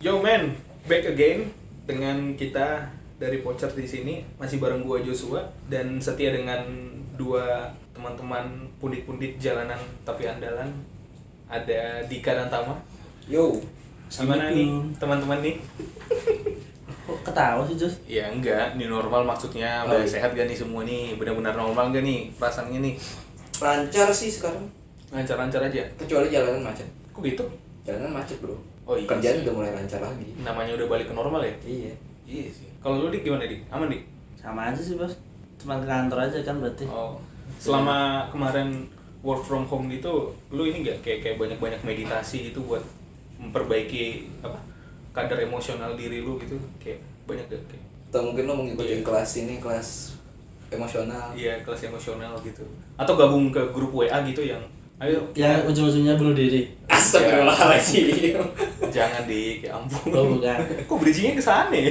Yo man, back again dengan kita dari Pocher di sini masih bareng gua Joshua dan setia dengan dua teman-teman pundit-pundit jalanan tapi andalan ada Dika dan Tama. Yo, gitu. Gimana nih teman-teman nih? Kok ketawa sih Jos? Ya enggak, ini normal maksudnya Oh, udah iya. sehat gak nih semua nih, benar-benar normal gak nih perasaannya nih? lancar sih sekarang. Lancar-lancar aja. Kecuali jalanan macet. Kok gitu? Jalanan macet, Bro. Oh, iya Kerjaan sih. udah mulai lancar lagi. Namanya udah balik ke normal ya? Iya. Iya sih. Kalau lu dik gimana dik? Aman dik? Sama aja sih bos. Cuma ke kantor aja kan berarti. Oh, selama kemarin work from home gitu, lu ini nggak kayak kayak banyak-banyak meditasi gitu buat memperbaiki apa kadar emosional diri lu gitu, kayak banyak gak kayak Atau mungkin lo mau Iya. ngikutin kelas ini, kelas Ah. emosional. iya kelas emosional gitu, atau gabung ke grup WA gitu yang ayo Yang Ya, ujung-ujungnya bunuh diri. Astagfirullahaladzim. Iya. jangan dik, ya ampun. Oh, bukan. Kok bridgingnya ke sana ya?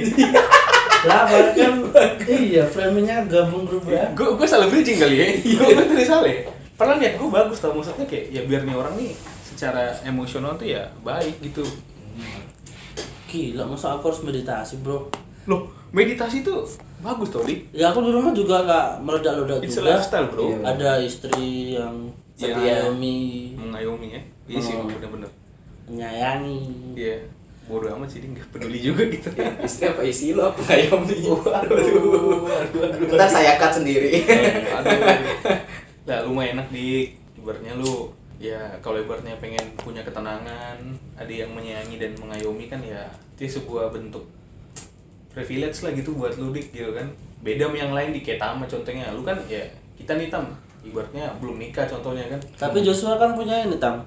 Lah padahal kan iya framingnya gabung grup ya. gue gue salah bridging kali ya iya gue tadi salah ya padahal niat gue bagus tau maksudnya kayak ya biar nih orang nih secara emosional tuh ya baik gitu Hmm, Gila masa aku harus meditasi bro? loh meditasi tuh bagus tau dik Ya aku di rumah juga nggak meledak-ledak It's a juga. lifestyle bro. Iya. Ada istri yang Iya. menyayangi, Mengayomi ya. Iya sih Oh. bener-bener. menyayangi. Iya. Bodoh amat sih dia nggak peduli juga gitu. ya, Istri apa isi lo apa ngayomi? Waduh, waduh, waduh. Iya. Ntar saya cut sendiri. Aduh. Lah lu mah enak dik. Ibaratnya lu ya kalau ibaratnya pengen punya ketenangan, ada yang menyayangi dan mengayomi kan ya itu sebuah bentuk privilege lah gitu buat lu dik gitu kan. Beda sama yang lain di kayak Tama contohnya. Lu kan ya kita nih tam ibaratnya belum nikah contohnya kan. Tapi Joshua kan punya ini tam.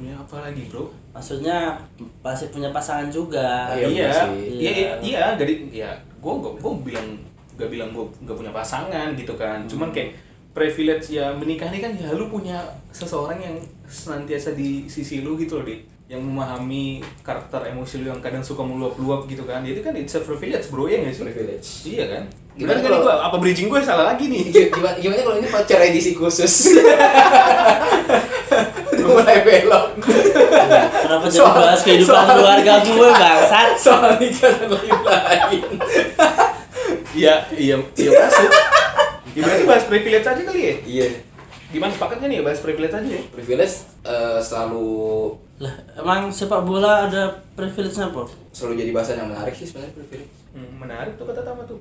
punya apa lagi bro? Maksudnya pasti punya pasangan juga. iya, Iya, bener sih. iya, iya, iya, dari ya gue gak gue bilang gak bilang gue gak punya pasangan gitu kan, cuman kayak privilege ya menikah ini kan ya lu punya seseorang yang senantiasa di sisi lu gitu loh Dik. yang memahami karakter emosi lu yang kadang suka meluap-luap gitu kan, itu kan it's a privilege bro ya nggak sih? Privilege. Iya kan? Gimana Gimana kan kalau- gue apa bridging gue salah lagi nih? Gimana, gimana kalau ini voucher edisi khusus? Udah mulai belok. Kenapa jadi Soal- bahas kehidupan soal- keluarga gue bangsat? Soal nikah dan lain-lain. Iya, iya, iya masuk. Ya berarti bahas privilege aja kali ya? Iya. Gimana sepakatnya nih bahas privilege aja ya? privilege eh, selalu Lah, emang sepak bola ada privilege-nya, Bro? selalu jadi bahasan yang menarik sih sebenarnya privilege. Hmm, menarik tuh kata Tama tuh.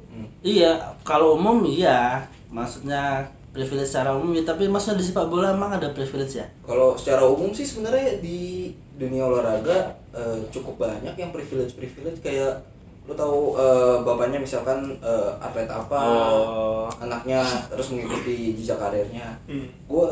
Iya, kalau umum iya. Maksudnya privilege secara umum ya, tapi maksudnya di sepak bola emang ada privilege ya? Kalau secara umum sih sebenarnya di dunia olahraga eh, cukup banyak yang privilege privilege kayak lu tahu eh, bapaknya misalkan eh, atlet apa, Oh. anaknya terus mengikuti jejak karirnya. Hmm. Gue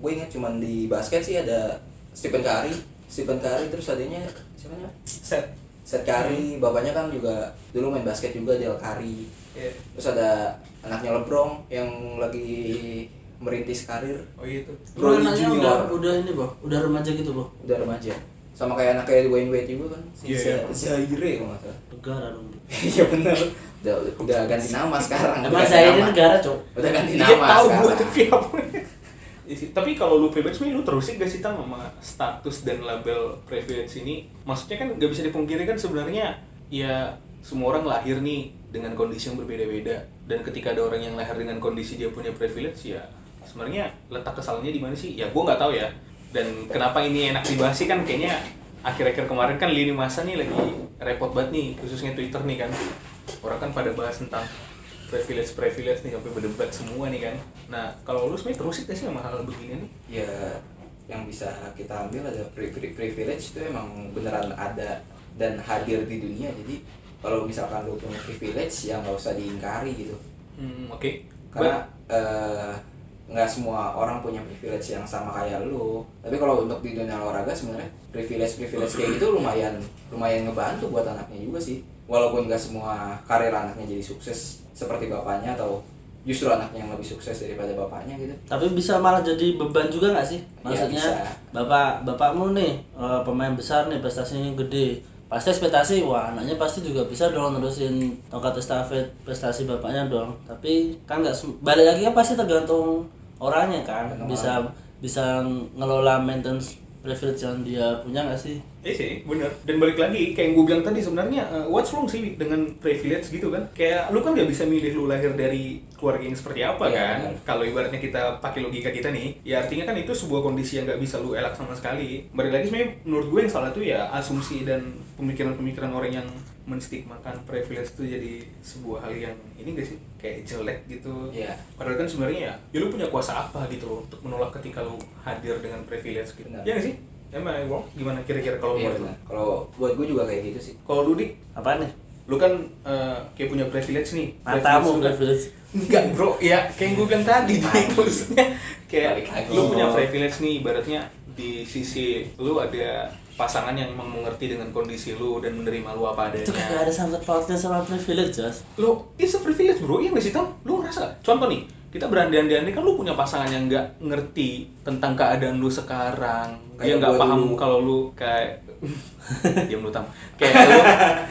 gue ingat cuman di basket sih ada Stephen Curry, Stephen Curry terus adanya siapa namanya? Set. Seth Curry, Hmm. bapaknya kan juga dulu main basket juga Del Curry. Iya. terus ada anaknya Lebron yang lagi merintis karir Oh iya tuh. Bro, Emang anaknya junior. udah udah ini, Bro. Udah remaja gitu, Bro. udah remaja sama kayak anak kayak Wayne Wade juga kan si Iya, yeah. Zaire kalau nggak salah Negara dong. iya bener udah, udah ganti nama sekarang udah Emang ganti saya ini nama. negara, Cok. udah ganti Iya, nama tahu gua tapi sekarang apa. Iya sih. Tapi kalau lu privilege sebenarnya lu terusin gak sih tam sama status dan label privilege ini? Maksudnya kan gak bisa dipungkiri kan sebenarnya ya semua orang lahir nih dengan kondisi yang berbeda-beda dan ketika ada orang yang lahir dengan kondisi dia punya privilege ya sebenarnya letak kesalahannya di mana sih? Ya gua nggak tahu ya. Dan kenapa ini enak dibahas sih kan kayaknya akhir-akhir kemarin kan lini masa nih lagi repot banget nih khususnya Twitter nih kan orang kan pada bahas tentang privilege privilege nih sampai berdebat semua nih kan nah kalau lu sebenarnya terusin gak sih sama hal begini nih ya yang bisa kita ambil ada pri- pri- privilege itu emang beneran ada dan hadir di dunia jadi kalau misalkan lu punya privilege ya nggak usah diingkari gitu hmm, oke karena eh, nggak semua orang punya privilege yang sama kayak lu tapi kalau untuk di dunia olahraga sebenarnya privilege privilege kayak gitu lumayan lumayan ngebantu buat anaknya juga sih walaupun nggak semua karir anaknya jadi sukses seperti bapaknya atau justru anaknya yang lebih sukses daripada bapaknya gitu Tapi bisa malah jadi beban juga nggak sih? Maksudnya Ya, bisa. bapak bapakmu nih eh, pemain besar nih prestasinya gede. Pasti ekspektasi wah anaknya pasti juga bisa dong nerusin tongkat estafet prestasi bapaknya dong. Tapi kan nggak sem- balik lagi kan pasti tergantung orangnya kan. Tergantung Bisa bisa ngelola maintenance privilege yang dia punya nggak sih? Iya sih, bener. Dan balik lagi, kayak yang gue bilang tadi sebenarnya eh, what's wrong sih dengan privilege gitu kan? Kayak lu kan gak bisa milih lu lahir dari keluarga yang seperti apa Iya, kan? bener. Kalau ibaratnya kita pakai logika kita nih, ya artinya kan itu sebuah kondisi yang gak bisa lu elak sama sekali. Balik lagi sebenarnya menurut gue yang salah tuh ya asumsi dan pemikiran-pemikiran orang yang menstigmakan privilege itu jadi sebuah hal yang ini gak sih? Kayak jelek gitu. Iya. Padahal kan sebenarnya ya, ya lu punya kuasa apa gitu loh untuk menolak ketika lu hadir dengan privilege gitu. Benar. Iya gak sih? Emang I wrong? Gimana kira-kira kalau Iya, menurut lu? benar. Kalau buat gue juga kayak gitu sih. Kalau lu dik, Apa nih? lu kan eh, kayak punya privilege nih. Matamu lu kan- privilege. Enggak bro, ya kayak yang gue bilang tadi dik maksudnya kayak Balik lagi. lu punya privilege nih ibaratnya di sisi lu ada pasangan yang emang mengerti dengan kondisi lu dan menerima lu apa Iya. adanya. Itu kagak ada sangkut pautnya sama privilege, Jos. lo it's a privilege bro iya nggak sih Tam? lo ngerasa nggak? contoh nih kita berandai-andai kan lu punya pasangan yang nggak ngerti tentang keadaan lu sekarang dia Kayak nggak gua paham dulu. kalau lu kayak diam lu tam kayak lu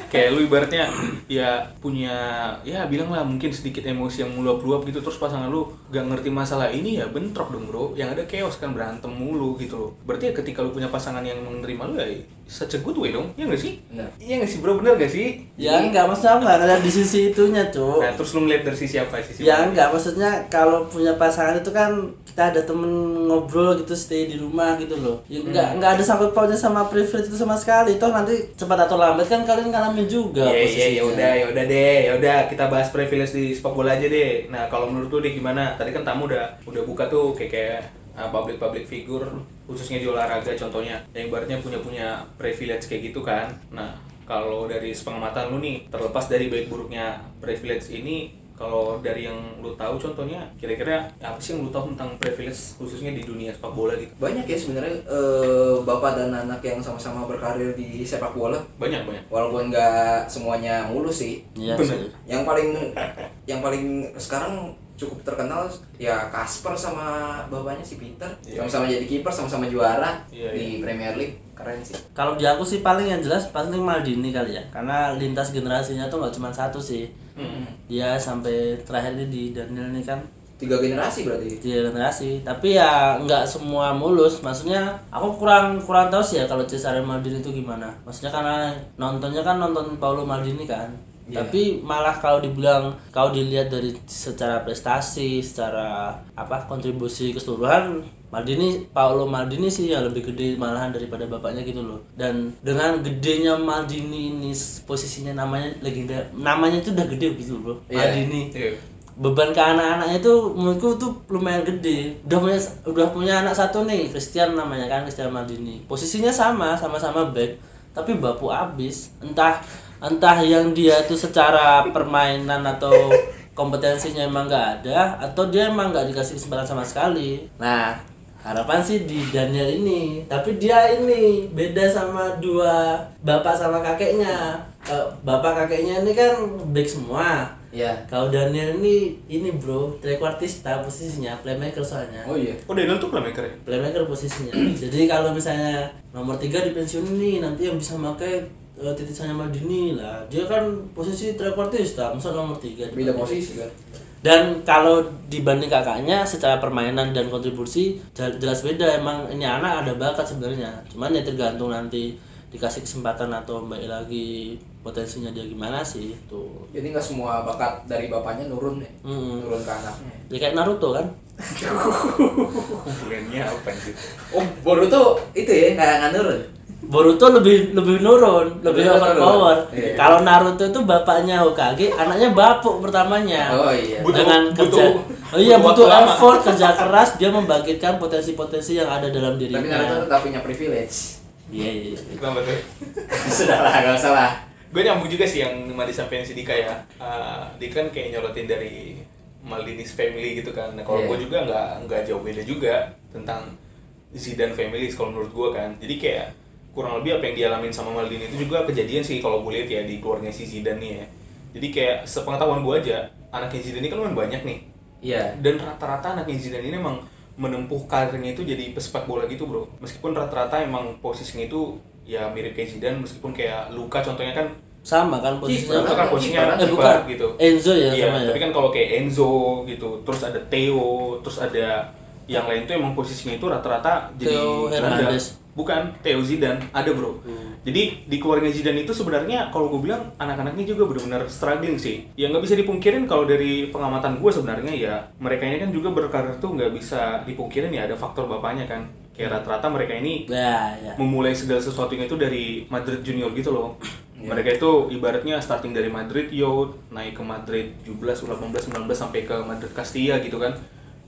kayak lu ibaratnya ya punya ya bilanglah mungkin sedikit emosi yang meluap-luap gitu terus pasangan lu gak ngerti masalah ini ya bentrok dong bro yang ada chaos kan berantem mulu gitu loh berarti ya ketika lu punya pasangan yang menerima lu ya such a good way dong ya nggak sih Benar. iya nggak sih bro bener nggak sih Ya Iya. enggak, maksudnya aku enggak ngeliat di sisi itunya, Cuk. Nah, terus lu ngeliat dari sisi apa? Sisi Ya mana? enggak, maksudnya kalau punya pasangan itu kan kita ada temen ngobrol gitu stay di rumah gitu loh. Ya enggak enggak ada sangkut pautnya sama privilege itu sama sekali. Toh nanti cepat atau lambat kan kalian ngalamin juga Ya, ya, posisinya. ya udah, ya udah deh, ya udah kita bahas privilege di sepak bola aja deh. Nah, kalau menurut lu deh gimana? Tadi kan tamu udah udah buka tuh kayak kayak uh, public public figure khususnya di olahraga contohnya yang ibaratnya punya punya privilege kayak gitu kan. Nah, kalau dari pengamatan lu nih terlepas dari baik buruknya privilege ini kalau dari yang lu tahu contohnya kira-kira apa sih yang lu tahu tentang privilege khususnya di dunia sepak bola gitu? Banyak ya sebenarnya eh, bapak dan anak yang sama-sama berkarir di sepak bola. Banyak banyak. Walaupun nggak semuanya mulus sih. Iya Bener. sih. Yang paling yang paling sekarang cukup terkenal ya Kasper sama bapaknya si Peter. Iya. Sama-sama jadi kiper, sama-sama juara Iya, di Premier League. Keren sih. Kalau di aku sih paling yang jelas paling Maldini kali ya. Karena lintas generasinya tuh nggak cuma satu sih. Dia sampai terakhir ini di Daniel ini kan Tiga generasi berarti. tiga generasi tapi ya nggak semua mulus maksudnya aku kurang kurang tahu sih ya kalau Cesare Maldini itu gimana maksudnya karena nontonnya kan nonton Paolo Maldini kan Iya. tapi malah kalau dibilang kalau dilihat dari secara prestasi secara apa kontribusi keseluruhan Maldini Paolo Maldini sih yang lebih gede malahan daripada bapaknya gitu loh dan dengan gedenya Maldini ini posisinya namanya legenda namanya itu udah gede gitu loh bro Iya. Maldini Iya. beban ke anak-anaknya itu menurutku tuh lumayan gede udah punya udah punya anak satu nih Christian namanya kan Christian Maldini posisinya sama sama-sama back tapi bapu abis entah entah yang dia tuh secara permainan atau kompetensinya emang nggak ada atau dia emang nggak dikasih kesempatan sama sekali nah harapan sih di Daniel ini tapi dia ini beda sama dua bapak sama kakeknya Eh, bapak kakeknya ini kan back semua Iya. kalau Daniel ini ini bro, trequartista posisinya, playmaker soalnya. Oh iya. Oh, Daniel tuh playmaker ya? Playmaker posisinya. Jadi kalau misalnya nomor 3 di pensiun ini nanti yang bisa pakai titisannya Maldini lah. Dia kan posisi trequartista, masa nomor 3. Beda posisi kan. Dan kalau dibanding kakaknya secara permainan dan kontribusi jel- jelas beda emang ini anak ada bakat sebenarnya. Cuman ya tergantung nanti dikasih kesempatan atau baik lagi potensinya dia gimana sih itu. Jadi nggak semua bakat dari bapaknya nurun ya. Mm-mm. Nurun ke anaknya. Ya kayak Naruto kan? Hubungannya apa sih? Oh, Boruto itu ya nggak nggak nurun. Boruto lebih lebih nurun, lebih Lebih overpower. nurun. Iya. Kalau Naruto itu bapaknya Hokage, anaknya bapuk pertamanya. Oh iya. Butuh- Dengan butuh- kerja, oh iya butuh butuh, waktu lama. effort, kerja keras, dia membangkitkan potensi-potensi yang ada dalam Tapi Naruto dirinya. tetap punya privilege. Iya iya. iya. Kenapa tuh? Sudahlah, nggak usah lah. gue nyambung juga sih yang mau disampaikan si Dika ya Eh, Dika kan kayak nyorotin dari Maldini's family gitu kan nah, kalau Iya. gue juga nggak nggak jauh beda juga tentang Zidane family kalau menurut gue kan jadi kayak kurang lebih apa yang dialamin sama Maldini itu juga kejadian sih kalau gue lihat ya di keluarga si Zidane nih ya jadi kayak sepengetahuan gue aja anaknya Zidane ini kan lumayan banyak nih Iya. dan rata-rata anaknya Zidane ini emang menempuh karirnya itu jadi pesepak bola gitu bro meskipun rata-rata emang posisinya itu ya mirip kayak Zidane meskipun kayak Luka contohnya kan Sama kan Luka posisinya. Kiper. kan posisinya Kiper, eh, kiper bukan. gitu Enzo ya iya sama ya? tapi kan kalau kayak Enzo gitu terus ada Theo terus ada yang lain tuh emang posisinya itu rata-rata jadi Theo gelandang. Hernandez. Hmm. Bukan, Theo Zidane ada bro. Jadi di keluarga Zidane itu sebenarnya kalau gue bilang anak-anaknya juga benar-benar struggling sih. Ya nggak bisa dipungkirin kalau dari pengamatan gue sebenarnya ya mereka ini kan juga berkarir tuh nggak bisa dipungkirin ya ada faktor bapaknya kan. Hmm. Kayak rata-rata mereka ini Ya, ya. memulai segala sesuatunya itu dari Madrid Junior gitu loh. Mereka itu ibaratnya starting dari Madrid Youth, naik ke Madrid 17, 18, 19 sampai ke Madrid Castilla gitu kan.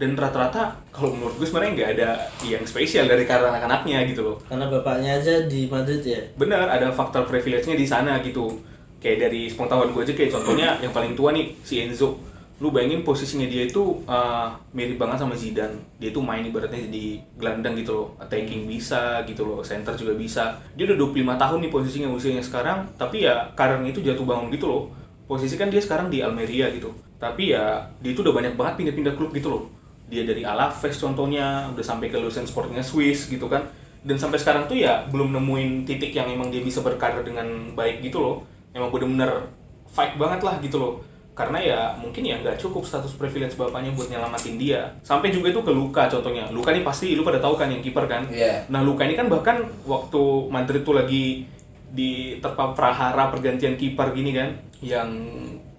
Dan rata-rata kalau menurut gue sebenarnya nggak ada yang spesial dari karir anak-anaknya gitu loh. Karena bapaknya aja di Madrid ya. Benar, ada faktor privilege-nya di sana gitu. Kayak dari sepengetahuan gue aja kayak contohnya yang paling tua nih si Enzo. Lu bayangin posisinya dia itu uh, mirip banget sama Zidane. Dia itu main ibaratnya di gelandang gitu loh. Attacking bisa gitu loh, center juga bisa. Dia udah 25 tahun nih posisinya usianya sekarang, tapi ya karirnya itu jatuh bangun gitu loh. Posisi kan dia sekarang di Almeria gitu. Tapi ya dia itu udah banyak banget pindah-pindah klub gitu loh. Dia dari Alaves contohnya, udah sampai ke Lucerne Sportingnya Swiss gitu kan dan sampai sekarang tuh ya belum nemuin titik yang emang dia bisa berkarir dengan baik gitu loh emang bener-bener fight banget lah gitu loh karena ya mungkin ya nggak cukup status privilege bapaknya buat nyelamatin dia sampai juga itu ke Luka contohnya Luka nih pasti lu pada tahu kan yang kiper kan Iya. nah Luka ini kan bahkan waktu Madrid tuh lagi di terpa prahara pergantian kiper gini kan yang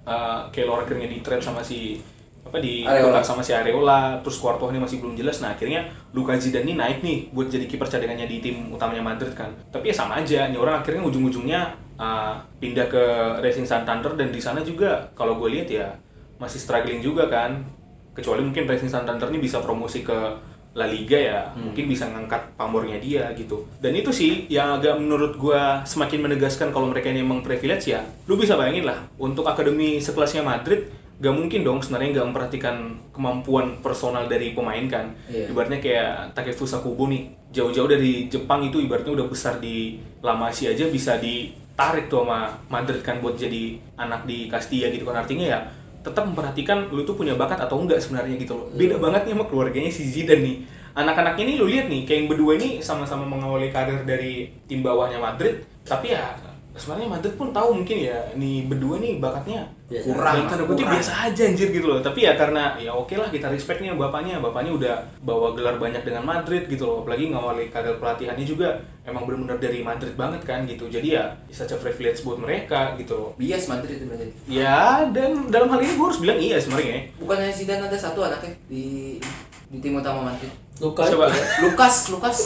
uh, Keylor akhirnya di trade sama si apa di Areola. sama si Areola terus Courtois ini masih belum jelas nah akhirnya Luka Zidane ini naik nih buat jadi kiper cadangannya di tim utamanya Madrid kan tapi ya sama aja nih orang akhirnya ujung-ujungnya uh, pindah ke Racing Santander dan di sana juga kalau gue lihat ya masih struggling juga kan kecuali mungkin Racing Santander ini bisa promosi ke La Liga ya mungkin bisa ngangkat pamornya dia gitu dan itu sih yang agak menurut gue semakin menegaskan kalau mereka ini emang privilege ya lu bisa bayangin lah untuk akademi sekelasnya Madrid gak mungkin dong sebenarnya gak memperhatikan kemampuan personal dari pemain kan Iya. ibaratnya kayak Takefusa Kubo nih jauh-jauh dari Jepang itu ibaratnya udah besar di La Masia aja bisa ditarik tuh sama Madrid kan buat jadi anak di Castilla gitu kan artinya ya tetap memperhatikan lu tuh punya bakat atau enggak sebenarnya gitu loh beda banget nih sama keluarganya si Zidane nih anak-anak ini lu lihat nih kayak yang berdua ini sama-sama mengawali karir dari tim bawahnya Madrid tapi ya sebenarnya Madrid pun tahu mungkin ya nih berdua nih bakatnya Biasa. Kurang, dalam tanda kutip kurang. biasa aja anjir gitu loh tapi ya karena ya oke lah kita respect nih sama bapaknya bapaknya udah bawa gelar banyak dengan Madrid gitu loh apalagi ngawali karir pelatihannya juga emang bener-bener dari Madrid banget kan gitu jadi ya such a privilege buat mereka gitu loh bias Madrid itu berarti ya dan dalam hal ini gue harus bilang iya sebenarnya ya. bukannya Zidane ada satu anaknya di di tim utama Madrid Luka Coba. Lukas Lukas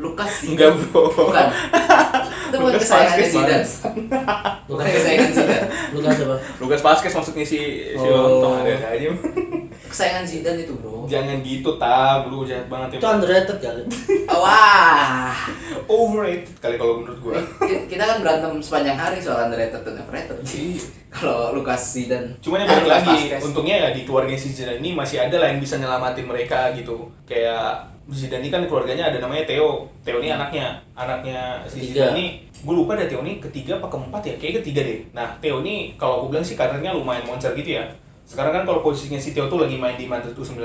Lukas enggak bro bukan itu bukan Lukas kesayangan Vazquez, Zidane bukan kesayangan Zidane Luka siapa? Lukas Vazquez maksudnya si si Oh. lontong ada aja kesayangan Zidane itu bro jangan gitu tab lu jahat banget Itu ya underrated kali. Oh, wah overrated kali kalau menurut gue Ki- kita kan berantem sepanjang hari soal underrated dan overrated Iya. kalau Lukas Zidane Cuman yang balik Lukas lagi, Vazquez. untungnya ya di keluarga si Zidane ini masih ada lah yang bisa nyelamatin mereka gitu. Kayak Zidane ini kan keluarganya ada namanya Theo. Theo Hmm. ini anaknya. Anaknya si Ketiga. Zidane ini gue lupa deh Theo ini ketiga apa keempat ya? Kayaknya ketiga deh. Nah, Theo ini kalau gue bilang sih karirnya lumayan moncer gitu ya. Sekarang kan kalau posisinya si Theo tuh lagi main di Madrid U19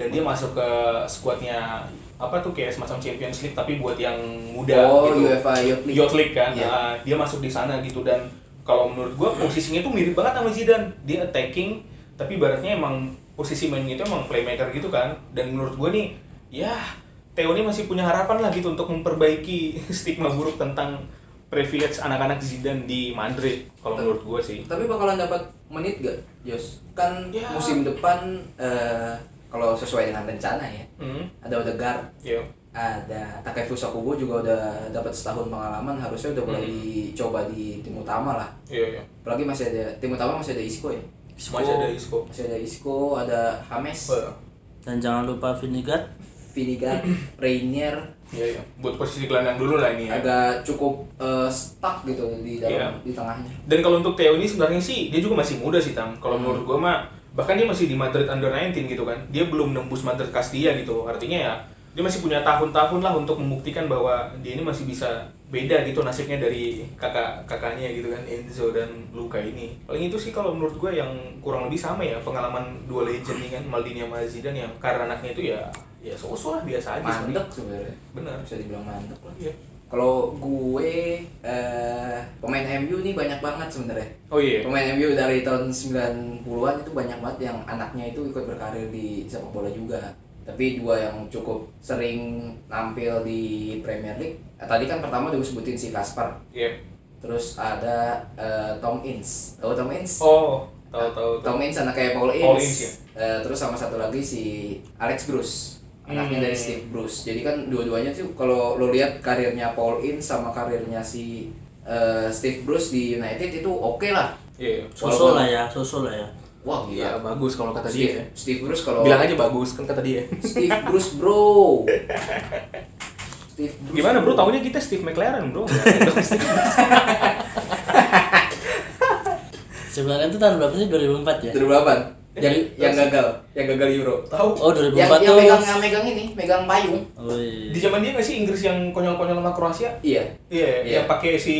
dan dia masuk ke skuadnya apa tuh kayak semacam Champions League tapi buat yang muda oh gitu. UEFA Youth League Youth League kan, Iya. nah, dia masuk di sana gitu dan kalau menurut gua posisinya itu mirip banget sama Zidane, dia attacking tapi baratnya emang posisi mainnya itu emang playmaker gitu kan dan menurut gua nih ya Theo ini masih punya harapan lah gitu untuk memperbaiki stigma buruk tentang privilege anak-anak Zidane di Madrid kalau menurut gua sih tapi bakalan dapat menit gak Jos kan Ya. musim depan eh, kalau sesuai dengan rencana ya hmm, ada Odegaard iya. ada Takefusa Kubo juga udah dapat setahun pengalaman harusnya udah mulai Hmm. dicoba di tim utama lah iya iya apalagi masih ada tim utama masih ada Isco ya masih ada Isco masih ada Isco ada James Eh, Dan jangan lupa Vinigat. Vidigal Reinier iya iya buat posisi gelandang dulu lah ini ya agak cukup eh, stuck gitu di dalam Iya. di tengahnya Dan kalau untuk Theo ini sebenarnya sih dia juga masih muda sih Tam. Kalau menurut gua mah bahkan dia masih di Madrid Under 19 gitu kan. Dia belum nembus Madrid Castilla gitu. Artinya ya dia masih punya tahun-tahun lah untuk membuktikan bahwa dia ini masih bisa beda gitu nasibnya dari kakak-kakaknya gitu kan Enzo dan Luka ini. Paling itu sih kalau menurut gua yang kurang lebih sama ya pengalaman dua legend nih kan Maldini sama Zidane yang karena anaknya itu ya ya so-so lah biasa aja mandek sebenarnya. sebenarnya Bener. bisa dibilang mandek lah Iya. kalau gue eh, pemain MU nih banyak banget sebenarnya Oh iya. pemain MU dari tahun 90-an itu banyak banget yang anaknya itu ikut berkarir di sepak bola juga tapi dua yang cukup sering nampil di Premier League eh, tadi kan pertama udah gue sebutin si Kaspar Iya. terus ada eh, Tom Ince tahu Tom Ince Oh, tahu tahu. tahu. Tom Ince anak kayak Paul Ince, Paul Ince, ya. Eh, terus sama satu lagi si Alex Bruce anaknya Hmm. dari Steve Bruce jadi kan dua-duanya tuh kalau lo lihat karirnya Paul Ince sama karirnya si eh, Steve Bruce di United itu oke lah Iya. Sosol lah ya, sosol lah ya. wah gila Iya, bagus kalau kata dia. Steve, ya. Steve Bruce kalau Bilang aja bagus kan kata dia. Steve Bruce bro. Steve Bruce. Gimana bro? Tahunya kita Steve McLaren bro. Nggak ada Steve Bruce. Sebenarnya itu tahun berapa sih? 2004 ya? 2008. Yang yang gagal, yang gagal Euro. Tahu. Oh, Yang, 2004 yang tuh. megang yang megang ini, megang payung. Oh, Di iya. zaman dia nggak sih Inggris yang konyol-konyol sama Kroasia? Iya. Iya. Iya. Yang pakai si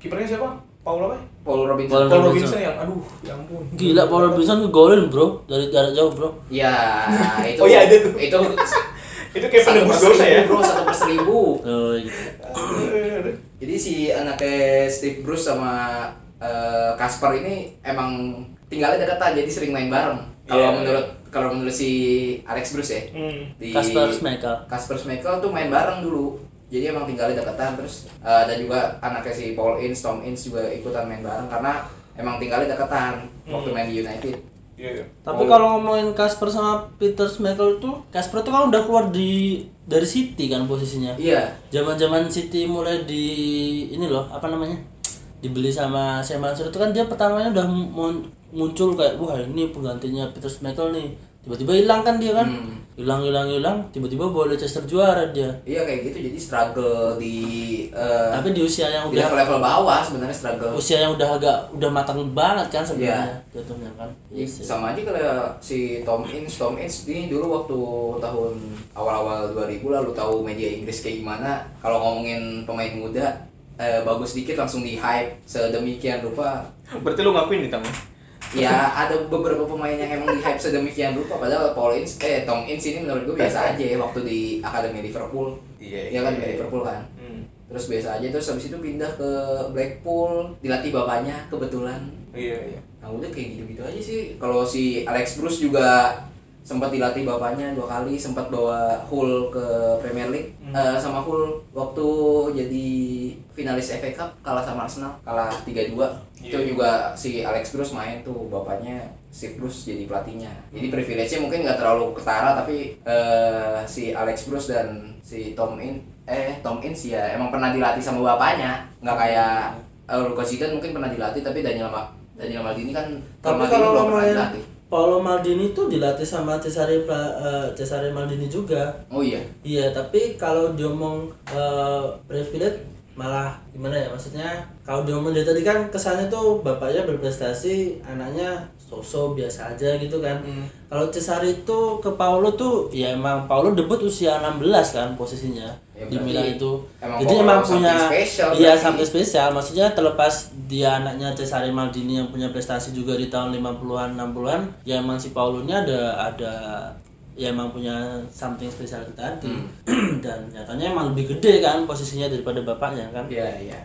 kipernya siapa? Paul apa? ya? Paul Robinson. Paul- Paul Robinson. Robinson yang aduh, ya ampun. Gila Paul Robinson ngegolin, Bro. Dari jarak jauh, Bro. Iya, itu. Oh, iya, ada tuh. Itu Itu kayak satu per penebus dosa seribu, ya. bro, satu per seribu. Oh, gitu. Jadi si anaknya Steve Bruce sama eh, Kasper ini emang tinggalnya dekat jadi sering main bareng. Kalau Iya. menurut kalau menurut si Alex Bruce ya. Hmm. di Kasper Schmeichel. Kasper Schmeichel tuh main bareng dulu jadi emang tinggalnya deketan terus eh, ada juga anaknya si Paul Ince, Tom Ince juga ikutan main bareng karena emang tinggalnya deketan waktu Hmm. main di United Iya. iya. Tapi kalau ngomongin Kasper sama Peter Schmeichel tuh, Kasper tuh kan udah keluar di dari City kan posisinya. iya Zaman-zaman City mulai di ini loh, apa namanya? Dibeli sama Sam Mansur itu kan dia pertamanya udah mun- muncul kayak wah ini penggantinya Peter Schmeichel nih. Tiba-tiba hilang kan dia kan? Hmm. Hilang hilang hilang, tiba-tiba bawa Leicester juara dia. iya kayak gitu jadi struggle di eh, Tapi di usia yang di udah level-level bawah sebenarnya struggle usia yang udah agak udah matang banget kan sebenarnya jatuhnya kan. Iya, Iya sih. sama aja kalau si Tom Ince, Tom Ince ini dulu waktu tahun awal-awal 2000 lah, lu tahu media Inggris kayak gimana. Kalau ngomongin pemain muda, eh, bagus dikit langsung di hype sedemikian rupa Berarti lu ngakuin nih Tang? ya ada beberapa pemain yang emang di hype sedemikian rupa padahal Paul Ince eh Tom Ince ini menurut gue biasa aja ya waktu di akademi Liverpool Iya, Iya kan di iya. Liverpool kan Hmm. terus biasa aja terus habis itu pindah ke Blackpool dilatih bapaknya kebetulan Iya iya. nah udah kayak gitu gitu aja sih kalau si Alex Bruce juga sempat dilatih bapaknya dua kali sempat bawa Hull ke Premier League Hmm. Eh, sama Hull waktu jadi finalis FA Cup kalah sama Arsenal kalah 3-2 itu Iya. juga si Alex Bruce main tuh bapaknya Steve Bruce jadi pelatihnya jadi privilege-nya mungkin nggak terlalu ketara tapi eh, si Alex Bruce dan si Tom In eh Tom Ince ya emang pernah dilatih sama bapaknya nggak kayak eh, Lucas Zidane mungkin pernah dilatih tapi Daniel Ma Daniel Maldini kan Tapi Maldini kalau belum pernah ngomongin dilatih. Paolo Maldini tuh dilatih sama Cesare Pla- eh, Cesare Maldini juga. oh iya Iya, tapi kalau diomong eh, privilege malah gimana ya maksudnya kalau diomong dari tadi kan kesannya tuh bapaknya berprestasi anaknya sosok biasa aja gitu kan Hmm. kalau Cesare itu ke Paulo tuh ya emang Paulo debut usia 16 kan posisinya Ya, di berarti Milan itu emang jadi Paolo emang something punya special iya berarti. sampai spesial maksudnya terlepas dia anaknya Cesare Maldini yang punya prestasi juga di tahun 50-an 60-an ya emang si Paulonya ada ada ya emang punya something spesial itu tadi Hmm. dan nyatanya emang lebih gede kan posisinya daripada bapaknya kan iya iya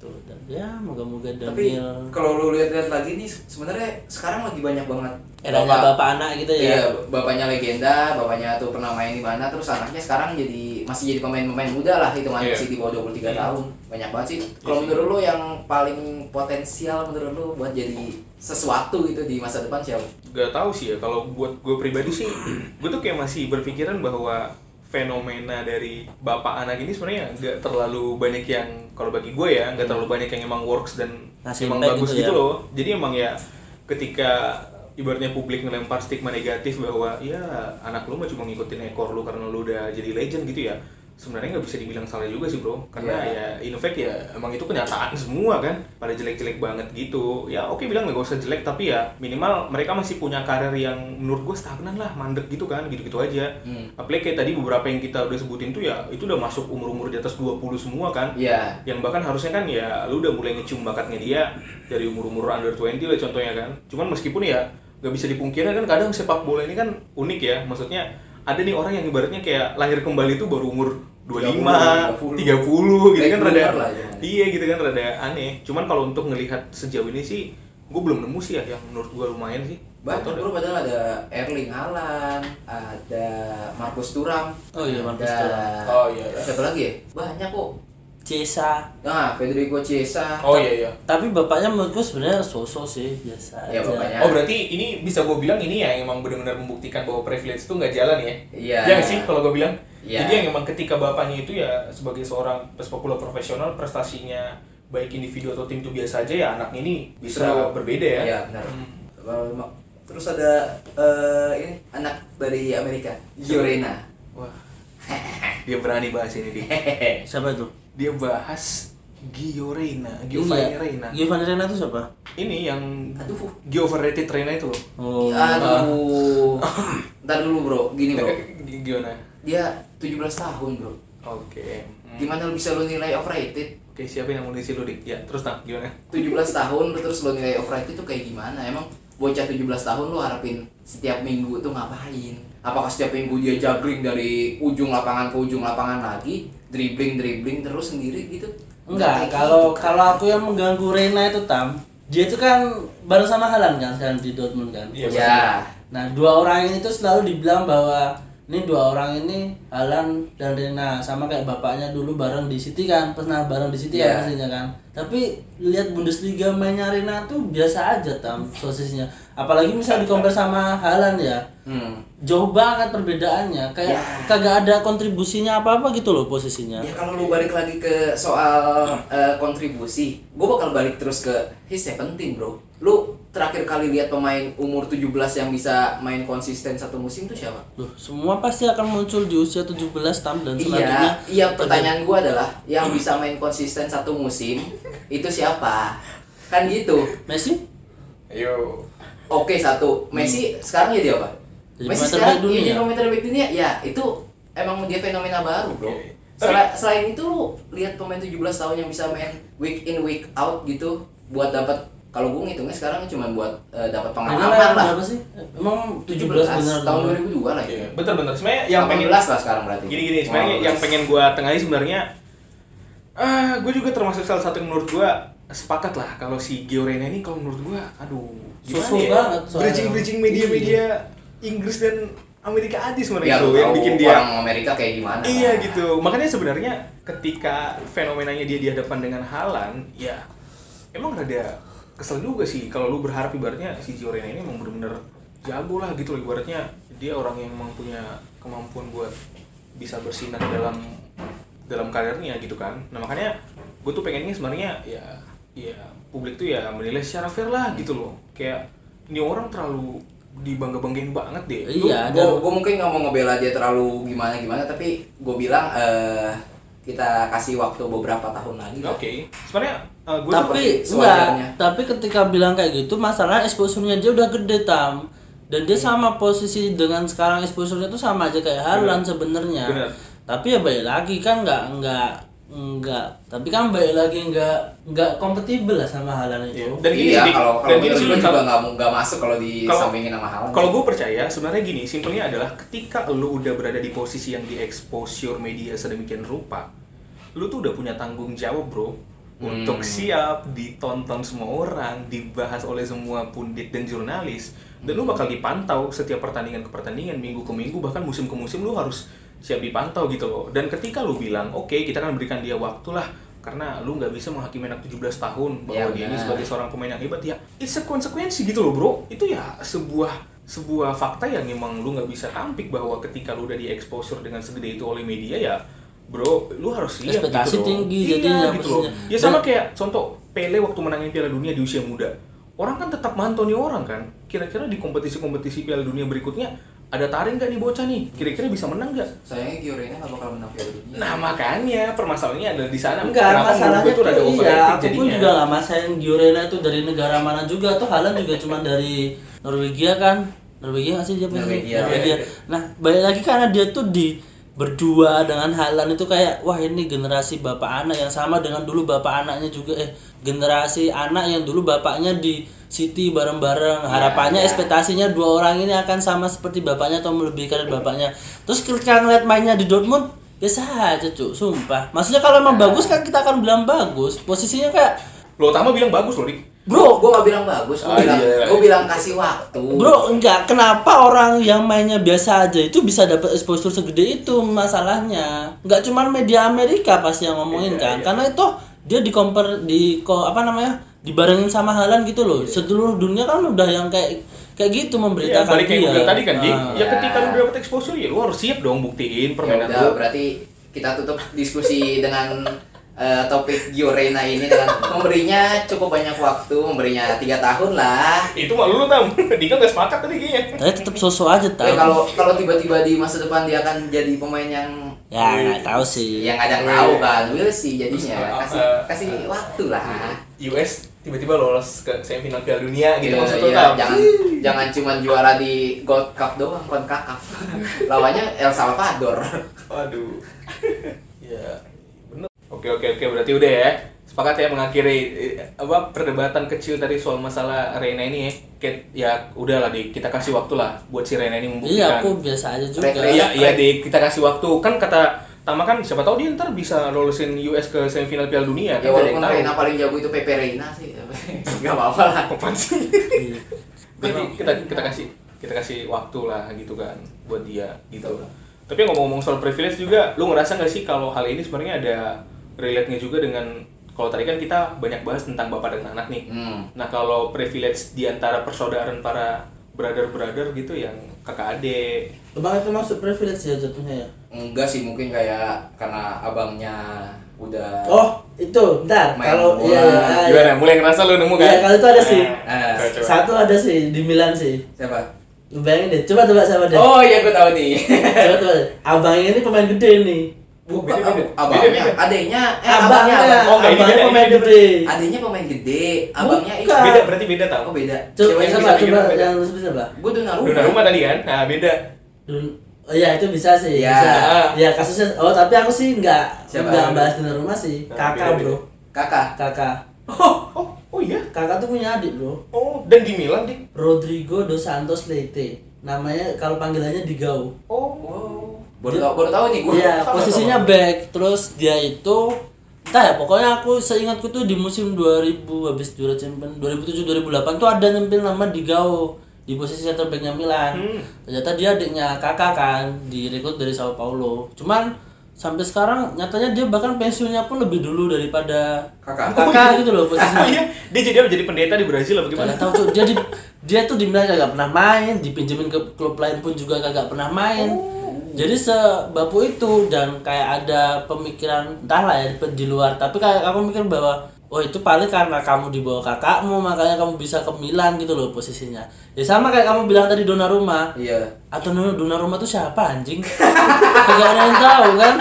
tuh dan ya moga-moga tapi Daniel kalau lu lihat-lihat lagi nih sebenarnya sekarang lagi banyak banget eranya bapak, anak gitu ya Iya, bapaknya legenda, bapaknya tuh pernah main di mana, terus anaknya sekarang jadi masih jadi pemain-pemain muda lah, hitungannya Iya. masih di bawah 23 Iya. tahun. Banyak banget sih. Iya Kalau sih. menurut lu yang paling potensial menurut lu buat jadi sesuatu gitu di masa depan siapa? Gak tahu sih ya. Kalau buat gue pribadi sih, gue tuh kayak masih berpikiran bahwa fenomena dari bapak anak ini sebenarnya nggak terlalu banyak yang kalau bagi gue ya nggak terlalu banyak yang emang works dan Ngasih emang impact bagus Hmm. gitu gitu ya. loh jadi emang ya ketika ibaratnya publik ngelempar stigma negatif bahwa ya anak lu mah cuma ngikutin ekor lu karena lu udah jadi legend gitu ya sebenarnya nggak bisa dibilang salah juga sih bro karena Iya, ya in fact ya emang itu kenyataan semua kan pada jelek-jelek banget gitu ya oke bilang nggak usah jelek tapi ya minimal mereka masih punya karir yang menurut gue stagnan lah mandek gitu kan gitu-gitu aja Hmm. apalagi kayak tadi beberapa yang kita udah sebutin tuh ya itu udah masuk umur-umur di atas 20 semua kan Iya. yang bahkan harusnya kan ya lu udah mulai ngecium bakatnya dia dari umur-umur under 20 lah contohnya kan cuman meskipun ya nggak bisa dipungkiri kan kadang sepak bola ini kan unik ya maksudnya ada nih orang yang ibaratnya kayak lahir kembali itu baru umur 25, 30, 30, gitu kan Kayak rada keluar lah ya. iya gitu kan rada aneh cuman kalau untuk ngelihat sejauh ini sih gue belum nemu sih ya yang menurut gue lumayan sih Banyak bro, padahal ada Erling Haaland, ada Marcus Thuram, Oh iya, Marcus ada- Thuram. Oh iya, iya. Siapa lagi ya? Banyak kok. Cesa Nah, Federico Chiesa. Oh iya iya. tapi bapaknya menurutku sebenarnya sosok sih biasa Ya, aja. bapaknya. Oh berarti ini bisa gue bilang ini ya yang emang benar-benar membuktikan bahwa privilege itu nggak jalan ya? Iya. Iya nggak sih kalau gue bilang. Iya. Jadi yang emang ketika bapaknya itu ya sebagai seorang sepak bola profesional prestasinya baik individu atau tim itu biasa aja ya anak ini bisa Justru- berbeda ya. Iya, benar. Hmm. Kalau ma- Terus ada eh, ini anak dari Amerika, Giorena. Wah. Dia berani bahas ini dia. Hehehe. siapa itu Dia bahas Gio Reyna, Iya. Giovanni Reyna. Iya. Giovanni Reina itu siapa Ini yang Aduh. Gio overrated Reyna itu loh. oh Aduh. Ntar dulu, Bro. Gini, Bro. Gimana? Dia 17 tahun, Bro. Oke. Hmm. Gimana lu bisa lu nilai overrated? Oke, siapa yang mau ngisi lu, Dik? Ya, terus nah, gimana? 17 tahun lu terus lo nilai overrated itu kayak gimana? Emang bocah 17 tahun lu harapin setiap minggu tuh ngapain? Apakah setiap minggu dia juggling dari ujung lapangan ke ujung lapangan lagi, dribbling dribbling terus sendiri gitu? Enggak, kayak kalau gitu, kan? kalau aku yang mengganggu Rena itu Tam, dia itu kan bareng sama Halan kan sekarang di Dortmund kan. Iya, ya. Nah, dua orang ini tuh selalu dibilang bahwa ini dua orang ini Halan dan Rena sama kayak bapaknya dulu bareng di City kan, pernah bareng di City Iya. kan pastinya kan. Tapi lihat Bundesliga mainnya Rena tuh biasa aja Tam sosisnya. Apalagi misal dikompar sama Halan ya. Hmm. Jauh banget perbedaannya, kayak Ya. kagak ada kontribusinya apa-apa gitu loh posisinya. Ya kalau lu balik lagi ke soal eh, kontribusi, gue bakal balik terus ke his 17 bro. Lu terakhir kali lihat pemain umur 17 yang bisa main konsisten satu musim tuh siapa? Loh, semua pasti akan muncul di usia 17 tam dan selanjutnya. Iya, iya pertanyaan gue adalah yang bisa main konsisten satu musim itu siapa? Kan gitu. Messi? Ayo. Oke satu, Messi sekarang jadi apa? Hmm. Jadi Messi pemain sekarang terbaik dunia. jadi pemain terbaik dunia, ya itu emang dia fenomena baru bro. Oke. Sel- selain itu lu lihat pemain 17 tahun yang bisa main week in week out gitu buat dapat kalau gue ngitungnya sekarang cuma buat eh, dapat Rena pengalaman lah. berapa sih? Emang 17 benar. 17 tahun 2002 lah ya. Bener-bener sebenarnya yang Yang pengen 18 lah sekarang berarti. gini-gini sebenarnya yang 18. pengen gua tengahi sebenarnya ah gue juga termasuk salah satu yang menurut gua sepakat lah kalau si Gio Reyna ini kalau menurut gua aduh gimana Susul banget soalnya. Iya. bridging bridging media-media Inggris dan Amerika aja ya, sebenarnya lu itu yang bikin dia orang Amerika kayak gimana iya lah. gitu makanya sebenarnya ketika fenomenanya dia dihadapan dengan Halan ya emang rada kesel juga sih kalau lu berharap ibaratnya si Gio Reyna ini emang bener-bener jago lah gitu loh ibaratnya dia orang yang emang punya kemampuan buat bisa bersinar dalam dalam karirnya gitu kan nah makanya gue tuh pengennya sebenarnya ya ya publik tuh ya menilai secara fair lah gitu loh kayak ini orang terlalu dibangga-banggain banget deh Lu Iya, gue dan mungkin nggak mau ngebela dia terlalu gimana gimana tapi gue bilang eh, kita kasih waktu beberapa tahun lagi Oke, sebenarnya eh, gue tapi seperti enggak, sewajarnya. tapi ketika bilang kayak gitu masalah exposure-nya dia udah gede tam dan Iya. dia sama posisi dengan sekarang exposure-nya tuh sama aja kayak Harlan sebenarnya. Benar. Tapi ya baik lagi kan nggak nggak nggak tapi kan baik lagi nggak nggak kompatibel lah sama Harlan itu. Dan gini iya sih, Dik. kalau Dan kalau gini menurut sih, gue kalau- juga nggak mau- nggak masuk kalau Kalau- disambingin sama hal Kalau gue percaya, sebenarnya gini, simpelnya adalah ketika lu udah berada di posisi yang di exposure media sedemikian rupa, lu tuh udah punya tanggung jawab bro, Hmm. untuk siap ditonton semua orang, dibahas oleh semua pundit dan jurnalis, dan lu Hmm. bakal dipantau setiap pertandingan ke pertandingan, minggu ke minggu, bahkan musim ke musim lu harus siap dipantau gitu loh. Dan ketika lu bilang, oke kita akan berikan dia waktu lah, karena lu nggak bisa menghakimi anak 17 tahun bahwa Ya, dia ini benar. sebagai seorang pemain yang hebat ya it's a konsekuensi gitu loh bro itu ya sebuah sebuah fakta yang emang lu nggak bisa tampik bahwa ketika lu udah di exposure dengan segede itu oleh media ya bro lu harus lihat Ekspektasi gitu loh. tinggi iya, jadinya gitu loh maksudnya. ya sama kayak contoh Pele waktu menangin Piala Dunia di usia muda orang kan tetap mantau nih orang kan kira-kira di kompetisi-kompetisi Piala Dunia berikutnya ada taring nggak nih bocah nih kira-kira bisa menang nggak sayangnya Giorena nggak bakal menang Piala Dunia nah makanya permasalahannya ada di sana Enggak, Kenapa masalahnya menurut gua tuh rada iya, overrated aku pun jadinya. juga gak masain Giorena itu dari negara mana juga Tuh Haaland juga cuma dari Norwegia kan Norwegia gak sih dia pasti? Norwegia. iya. Nah, balik lagi karena dia tuh di berdua dengan Haaland itu kayak wah ini generasi bapak anak yang sama dengan dulu bapak anaknya juga eh generasi anak yang dulu bapaknya di City bareng-bareng harapannya ya. ekspektasinya dua orang ini akan sama seperti bapaknya atau melebihi karir bapaknya terus ketika ngeliat mainnya di Dortmund biasa aja cuy sumpah maksudnya kalau emang bagus kan kita akan bilang bagus posisinya kayak Lo utama bilang bagus loh, Dik. Bro, gue gak bilang bagus, gue Ah, bilang, iya. gua bilang kasih waktu. Ya Bro, enggak. Kenapa orang yang mainnya biasa aja itu bisa dapat exposure segede itu masalahnya? Enggak cuman media Amerika pasti yang Iya, ngomongin kan. iya. Karena itu dia di compare di ko, apa namanya? dibarengin sama halan gitu loh. Seluruh dunia kan udah yang kayak kayak gitu Iya, memberitakan balik kayak gue dia. bilang tadi kan, Dik. Ah. Ya ketika lu udah dapet exposure ya lu harus siap dong buktiin Ya permainan udah, lu. berarti kita tutup diskusi dengan eh, topik Giorena ini dengan memberinya cukup banyak waktu, memberinya tiga tahun lah. Itu mah lu tam. Dika gak sepakat tadi kayaknya. Tapi tetap sosok aja Eh, tahu. kalau kalau tiba-tiba di masa depan dia akan jadi pemain yang Ya, nggak tahu sih. yang ada yang tahu kan, will sih jadinya kasih kasih waktu lah. US tiba-tiba lolos ke semifinal Piala Dunia gitu Iya, maksud lu iya, tam. jangan jangan cuma juara di Gold Cup doang, Concacaf. Lawannya El Salvador. Waduh. ya, bener. Oke oke oke berarti udah ya. Sepakat ya mengakhiri eh, apa perdebatan kecil tadi soal masalah Reina ini ya. Ket, ya udahlah dik, kita kasih waktu lah buat si Reina ini membuktikan. Iya, aku biasa aja juga. Rek- Iya, iya Dik, kita kasih waktu. Kan kata Tama kan siapa tahu dia ntar bisa lolosin US ke semifinal Piala Dunia kan Ya ada yang walaupun tahu. Reina paling jago itu Pepe Reina sih, tapi nggak apa-apa lah. Apaan sih? Iya. Jadi kita kita kasih kita kasih waktu lah gitu kan buat dia gitu lah. Tapi ngomong-ngomong soal privilege juga, lu ngerasa nggak sih kalau hal ini sebenarnya ada relate-nya juga dengan kalau tadi kan kita banyak bahas tentang bapak dan anak nih. Hmm. Nah kalau privilege di antara persaudaraan para brother-brother gitu yang kakak adik Abang itu masuk privilege ya jatuhnya ya. Enggak sih mungkin kayak karena abangnya udah Oh, itu. Bentar. Main Kalau bola. iya, iya, iya. gimana? Mulai ngerasa lu nemu kan? Iya, kalau itu ada sih. Nah, Coba, coba. Satu ada sih di Milan sih. siapa? Lu Bayangin deh, coba tebak siapa deh. Oh iya gue tahu nih. Coba tebak. Abangnya ini pemain gede nih. Bukan Beda, beda. ab- abangnya, Beda, beda. adiknya, eh abangnya, Abangnya, Oh, enggak, ini abangnya beda, ini pemain beda. gede. adiknya pemain gede, abangnya itu. Bukan. Beda berarti beda tau. Oh beda. Coba yang coba bisa coba beda? yang lebih siapa? Gue tuh naruh. Dona rumah tadi kan? Nah, beda. Dun- Oh iya itu bisa sih. Ya. Bisa. Ya kasusnya. Oh tapi aku sih nggak Siapa? nggak bahas di rumah sih. Nah, Kakak beda, bro. Kakak. Kakak. Oh, oh, oh iya. Kakak tuh punya adik bro. Oh, dan di Milan, Dik. Rodrigo dos Santos Leite. Namanya kalau panggilannya Digau. Oh, Baru tau, baru tahu nih gue. Iya, posisinya back. Terus dia itu entah ya, pokoknya aku seingatku tuh di musim 2000 habis juara champion 2007 2008 tuh ada nyempil nama Digao di posisi center backnya Milan. Hmm. Ternyata dia adiknya kakak kan, direkrut dari Sao Paulo. Cuman sampai sekarang nyatanya dia bahkan pensiunnya pun lebih dulu daripada Kakak. kakak gitu loh Oh posisinya. iya, dia jadi apa? Jadi pendeta di Brazil apa gimana? Gak tahu tuh dia di, dia tuh di Milan kagak pernah main, dipinjemin ke klub lain pun juga kagak pernah main. Jadi sebapu itu dan kayak ada pemikiran entahlah ya di, di luar, tapi kayak aku mikir bahwa oh itu paling karena kamu dibawa kakakmu makanya kamu bisa ke Milan gitu loh posisinya. Ya sama kayak kamu bilang tadi Donnarumma. Iya. Atau Donnarumma tuh siapa anjing? kagak ada yang tahu kan?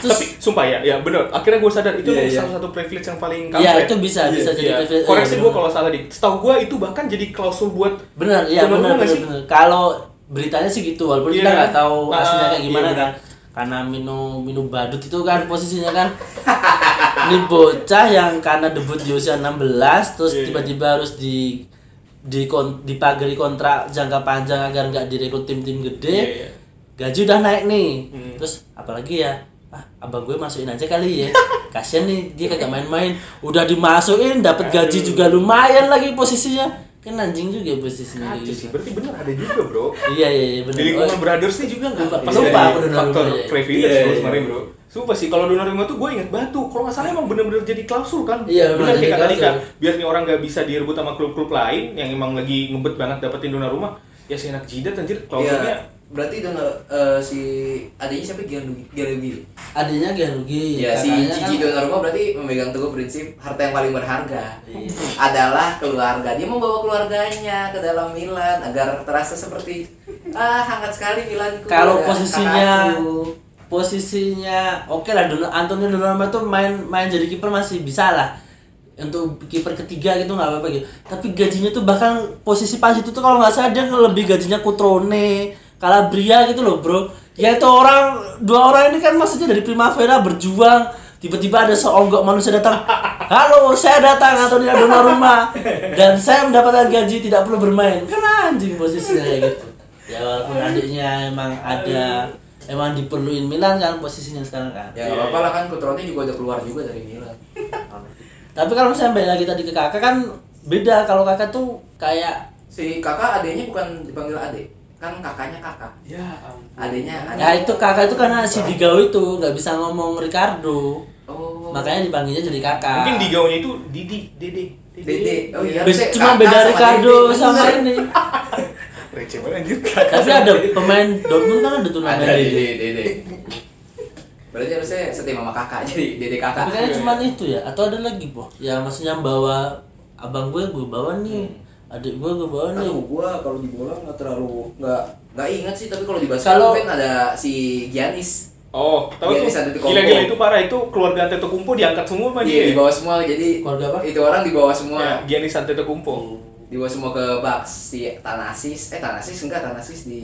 Terus Tapi sumpah ya, ya bener. Akhirnya gue sadar itu Iya, iya. salah satu privilege yang paling kampret. Iya, itu bisa, bisa jadi privilege. Koreksi gue Iya, bener. kalau salah dik. Setahu gue itu bahkan jadi klausul buat Benar, iya Benar benar juga benar. sih? benar. Kalau beritanya sih gitu, walaupun Iya kita kan? nggak tahu Ah, aslinya kayak gimana iya benar. kan. Karena Minu Minu Badut itu kan posisinya kan ini bocah yang karena debut di usia 16 terus Iya, iya. tiba-tiba harus di di kon, dipagari kontrak jangka panjang agar nggak direkrut tim-tim gede. Iya, iya. Gaji udah naik nih. Hmm. Terus apalagi ya? Ah, abang gue masukin aja kali ya. Kasian nih dia kagak main-main. Udah dimasukin dapat gaji Aduh. juga lumayan lagi posisinya. Kan anjing juga posisinya kayak Kacau sih. gitu. Berarti bener ada juga bro. Iya iya iya Di benar. lingkungan Oh, brothers nih juga nggak Lupa, lepas lupa dari aku udah faktor lupa, iya. privilege Iya, bro iya. sebenarnya bro. Sumpah sih kalau donor rumah tuh gue inget batu. Kalau nggak salah emang bener-bener jadi klausul kan. Iya, bener bener, kayak jadi kata Dika. klausul. Biar nih orang nggak bisa direbut sama klub-klub lain yang emang lagi ngebet banget dapetin donor rumah. Ya seenak jidat anjir klausulnya. Iya. Berarti itu eh, si adiknya siapa Gianluigi? Gianluigi. adanya Gianluigi. Iya, Ya, si kakaknya Gigi kan, Donnarumma berarti memegang teguh prinsip harta yang paling berharga Iya. adalah keluarga. Dia membawa keluarganya ke dalam Milan agar terasa seperti ah hangat sekali Milanku. Ya, Kalau ada posisinya kakakku." posisinya oke lah Don Antonio Donnarumma tuh main main jadi kiper masih bisa lah untuk kiper ketiga gitu nggak apa-apa gitu tapi gajinya tuh bahkan posisi pas itu tuh kalau nggak salah dia lebih gajinya Cutrone Calabria gitu loh bro ya itu orang dua orang ini kan maksudnya dari Primavera berjuang tiba-tiba ada seonggok manusia datang halo saya datang Antonio Donnarumma dan saya mendapatkan gaji tidak perlu bermain kan anjing posisinya kayak gitu ya walaupun adiknya emang ada emang diperluin Milan kan posisinya sekarang kan Ya nggak apa-apa lah kan Kutrone juga udah keluar juga dari Milan. Tapi kalau misalnya balik lagi tadi ke kakak kan beda kalau kakak tuh kayak si kakak adeknya bukan dipanggil adek kan kakaknya kakak Ya ampun. adeknya adek ya itu kakak itu karena si Digau itu nggak bisa ngomong Ricardo. oh Makanya dipanggilnya jadi kakak. Mungkin di gaunnya itu Didi, Dede. dede oh iya Be- harusnya cuma kakak beda sama Ricardo Dede. Iya. sama ini. Receh banget anjir. Tapi ada pemain Dortmund kan ada turnamen ada Dede. dede dede berarti harusnya setim sama kakak jadi dede kakak Tapi kayaknya cuma itu ya atau ada lagi boh? Ya maksudnya bawa abang gue gue bawa nih, adik gue gue bawa nih. Hmm. Aduh, gua kalau di bola nggak terlalu nggak nggak ingat sih tapi kalau di basket Kalau- mungkin ada si Giannis Oh, tahu Iya, tuh. di sana di Kompo. Gila-gila itu parah itu keluarga Antetokounmpo diangkat semua sama Iya, dia. di bawah semua jadi Keluarga apa? itu orang di bawah semua Hmm. Ya, Giannis Antetokounmpo. di bawah semua ke Bucks si Tanasis eh Tanasis enggak Tanasis di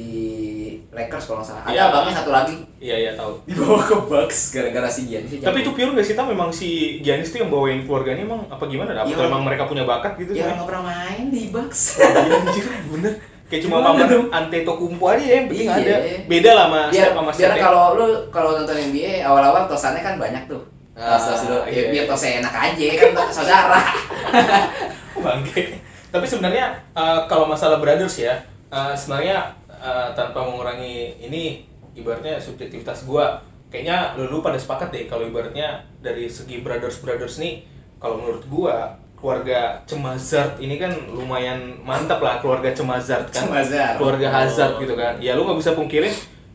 Lakers kalau nggak salah ada Iya. abangnya satu lagi Iya, iya tahu. di bawah ke Bucks gara-gara si Giannis Tapi itu pure gak sih Tam? Memang si Giannis tuh yang bawain keluarganya emang apa gimana? Apa Iya. tuh emang mereka punya bakat gitu? ya sebenarnya? nggak pernah main di Bucks Iya anjir, bener. Kayak cuma Gimana pamer dong? Antetokounmpo aja ya, yang penting Iya. ada. Beda lah sama biar, sama biar step ya. kalau lu kalau nonton NBA awal-awal tosannya kan banyak tuh Ah, Tos-tos dulu. Ya, iya. biar tosnya enak aja kan saudara Bangke. Tapi sebenarnya eh, kalau masalah brothers ya, eh, sebenarnya eh, tanpa mengurangi ini ibaratnya subjektivitas gua, kayaknya lu, lu pada sepakat deh kalau ibaratnya dari segi brothers brothers nih, kalau menurut gua keluarga Cemazart ini kan lumayan mantap lah keluarga Cemazart kan. Cemazart. Keluarga Hazard gitu kan. Ya lu nggak bisa pungkirin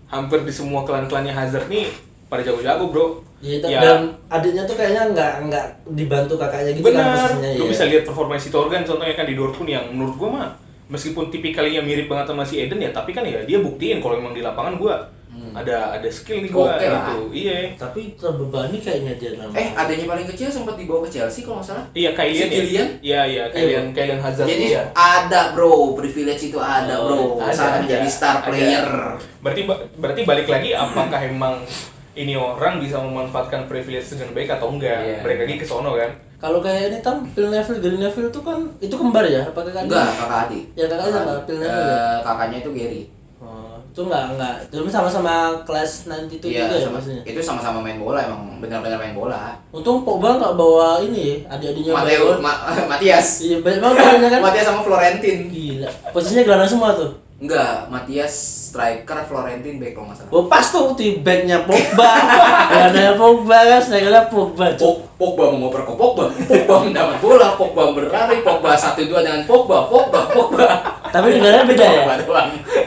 hampir di semua klan-klannya Hazard nih pada jago-jago, Bro. Ya, tapi dan adiknya tuh kayaknya nggak nggak dibantu kakaknya gitu kan Benar. posisinya Lu iya. ya. bisa lihat performa si Torgan contohnya kan di Dortmund yang menurut gua mah meskipun tipikalnya mirip banget sama si Eden ya, tapi kan ya dia buktiin kalau emang di lapangan gua ada ada skill nih gua Hmm. Oke lah. gitu. Iya. Tapi terbebani kayaknya dia nama. eh adanya paling kecil sempat dibawa ke Chelsea kalau nggak salah Iya, Kylian Si Kylian? Iya, iya, Kylian, Kylian Hazard. jadi iya. ada bro privilege itu ada Oh, bro Ada, saat ada, menjadi star ada. player Berarti ba- berarti balik lagi apakah emang ini orang bisa memanfaatkan privilege dengan baik atau enggak? Iya. Balik lagi ke sono kan. Kalau kayak ini tam Phil Neville, Gary Neville tuh kan itu kembar ya? Apa kakak enggak adik? kakak adik Ya, kakaknya Kakak sama, adik. pilihannya Eh, beda. kakaknya itu Gary Oh, itu nggak nggak. Tapi sama-sama kelas 92 Iya, juga ya sama- maksudnya. itu sama-sama main bola emang benar-benar main bola Untung Pogba nggak bawa ini ya, adik-adiknya. Mateo bawa- Ma- Matias Iya banyak banget bawaannya kan. Matias sama Florentin Gila. Posisinya gelandang semua tuh. enggak Matias striker Florentin back kalau nggak salah Gua pas tuh di backnya Pogba, gelandangnya Pogba kan, strikernya Pogba. Cuk. Pog- Pogba mengoper ke Pogba, Pogba mendapat bola, Pogba berlari, Pogba satu dua dengan Pogba, Pogba, Pogba. Tapi negaranya beda ya? Pogba doang.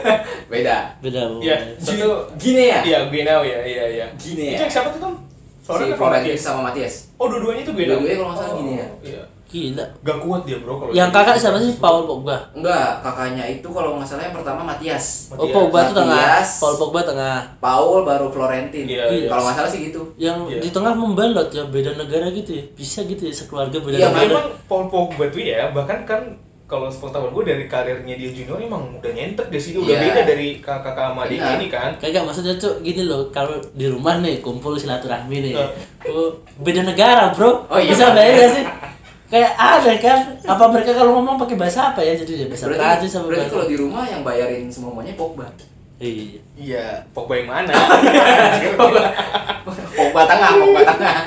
Beda. Beda. Hmm. Pogba. Iya. Gi- Satu Gini ya? Iya, Guinea ya, iya, iya. Gini ya? Itu yang siapa tuh, Tom? Si Soalnya kan Florentin Matias. sama Matias. Oh, dua-duanya tuh Guinea. Dua-duanya kalau nggak salah ya. Guinea. Iya. Gila. Gak kuat dia bro kalau Yang dia- gitu. Ya, kakak siapa sih? Paul Pogba. Enggak, kakaknya itu kalau nggak salah yang pertama Matias. Oh, Matias. Pogba tuh tengah. Matias. Paul Pogba tengah. Paul baru Florentin. Iya, iya. Kalau nggak salah sih gitu. Yang Iya. di tengah membalot ya beda negara gitu ya. Bisa gitu ya sekeluarga beda Iya, Tapi negara. emang Paul Pogba tuh ya bahkan kan kalau sepengetahuan gue dari karirnya dia junior emang udah nyentek deh sih dia udah Iya. beda dari kakak-kakak sama adiknya Benar. ini kan Kagak maksudnya cuk gini loh, kalau di rumah nih kumpul silaturahmi nih. Oh, beda negara, Iya. Bro. Oh, iya. Bisa bayangin gak sih? Kayak aneh kan? Apa mereka kalau ngomong pakai bahasa apa ya? Jadi ya bahasa Berarti, Prancis sama berarti bahasa. kalau di rumah yang bayarin semuanya Pogba. Iya. iya Pogba yang mana Pogba tengah, Pogba tengah.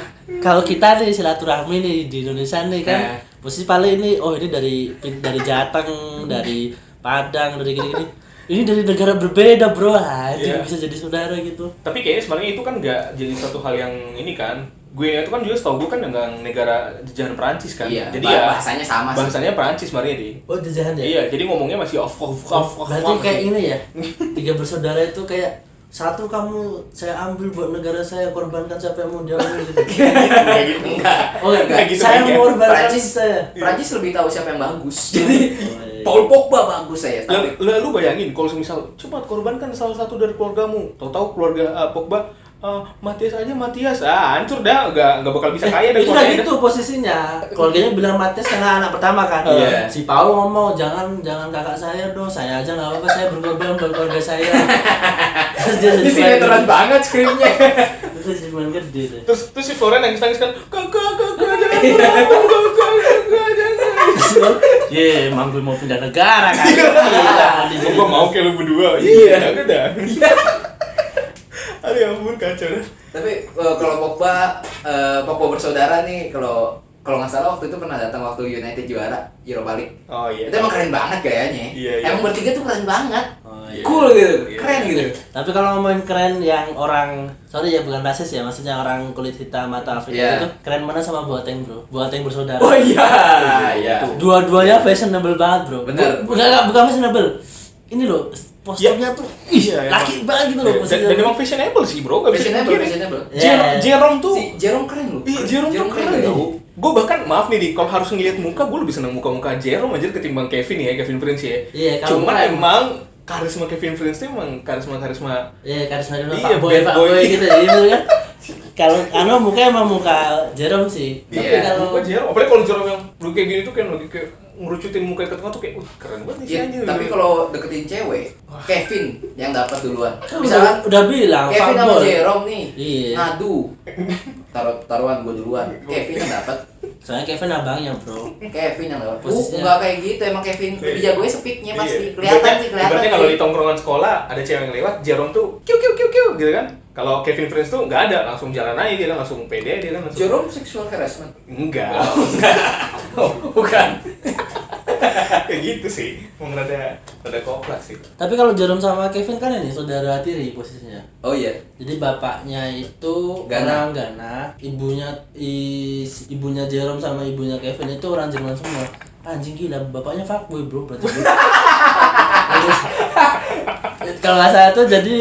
Kalau kita nih silaturahmi nih di Indonesia nih kan, Eh. Nah. posisi paling ini oh ini dari dari Jateng, dari Padang, dari gini-gini. Ini dari negara berbeda, Bro. Ah, itu Iya. bisa jadi saudara gitu. tapi kayaknya sebenarnya itu kan nggak jadi satu hal yang ini kan gue itu kan juga setahu gue kan dengan negara jajahan Perancis kan Iya, jadi bah- ya bahasanya sama sih. bahasanya Perancis Maria di Oh, jajahan ya? Oh, iya jadi ngomongnya masih off off off off Berarti off, gitu. kayak masih. ini ya, tiga bersaudara itu kayak satu kamu saya ambil buat negara saya korbankan siapa yang mau diambil gitu. Enggak gitu. Enggak. Oh enggak, gitu saya kayaknya. mengorbankan Prancis. saya. Prancis lebih tahu siapa yang bagus. Jadi Paul Pogba bagus saya. Lah, Tapi lah, lu bayangin kalau misal coba korbankan salah satu dari keluargamu, tahu-tahu keluarga eh, Pogba eh, Matias aja Matias ah hancur dah nggak nggak bakal bisa kaya Eh, dari itu udah gitu posisinya. Keluarganya bilang Matias karena anak pertama kan. Iya. Si Paul ngomong jangan jangan kakak saya dong, saya aja nggak apa-apa, saya berkorban buat keluarga saya. Terus dia di jadi sinetron main- banget skripnya. Terus dia jadi main gede deh. Terus terus si Florian nangis nangis kan kakak kakak jangan berantem kakak kakak jangan. Terus dia bilang, Ye, emang gue mau pindah negara kan. Gila, di sini. Gua mau kayak lu berdua. Iya. Jangan dah. Aduh ya ampun kacau dah. Tapi eh, kalau Pogba eh, Pogba bersaudara nih kalau kalau nggak salah waktu itu pernah datang waktu United juara Europa League Oh iya. itu emang keren banget kayaknya Iya, iya. emang bertiga tuh keren banget Oh, iya. cool gitu Iya. keren gitu Tapi kalau ngomongin keren yang orang sorry ya bukan rasis ya, maksudnya orang kulit hitam mata Afrika Iya. itu keren mana sama Boateng, Bro? Boateng bersaudara. oh iya iya Dua-duanya fashionable banget, Bro. Bener. Bu- Bukan bukan fashionable. Ini loh, posturnya tuh Iya, emang. laki banget gitu Dan, loh dan, posturnya. dan emang fashionable sih bro, gak Oh, bisa fashionable dipungkiri. fashionable Iya. Jer- Jerome tuh, Ya, si Jerome keren loh iya Jerome, tuh keren loh tau. Gue bahkan maaf nih, Di, kalau harus ngeliat muka, gue lebih seneng muka-muka Jerome aja ketimbang Kevin ya, Kevin Prince ya. Iya, kalau Cuman muka- emang karisma Kevin Prince tuh emang karisma-karisma Iya, karisma dia Iya, Pak Boy, bad Pak boy. Boy gitu ya, gitu kan. Kalau anu mukanya emang muka Jerome sih. Tapi Iya. kalau ya, muka Jerome. Apalagi kalau Jerome yang dulu kayak gini tuh kan lagi kayak ngerucutin muka ke tengah tuh kayak, wah keren banget nih si Iya, anjir. tapi kalau deketin cewek, Kevin yang dapat duluan. Kan Misalkan udah, udah bilang Kevin sama fuckboy. Jerome nih, Iya. ngadu. Taruh taruhan gue duluan. Kevin yang dapat, Soalnya Kevin abangnya, Bro. Kevin yang dapat. Uh, Posisinya. enggak kayak gitu, emang Kevin lebih jagonya sepiknya pasti. Iya. Kelihatan Ibaratnya- sih, kelihatan. Ibaratnya kalau di sih. tongkrongan sekolah ada cewek yang lewat, Jerome tuh kiu kiu kiu kiu gitu kan. Kalau Kevin Prince tuh nggak ada, langsung jalan aja dia kan, langsung pede dia kan langsung. Jerome sexual harassment. Enggak. Enggak. Oh, bukan. kayak gitu sih. Mau rada rada koplas sih. Tapi kalau Jerome sama Kevin kan ini saudara tiri posisinya. Oh iya. Jadi bapaknya itu Ghana. orang Ghana, ibunya i- ibunya Jerome sama ibunya Kevin itu orang Jerman semua. Anjing gila, bapaknya fuckboy bro berarti. Terus, kalau nggak salah tuh jadi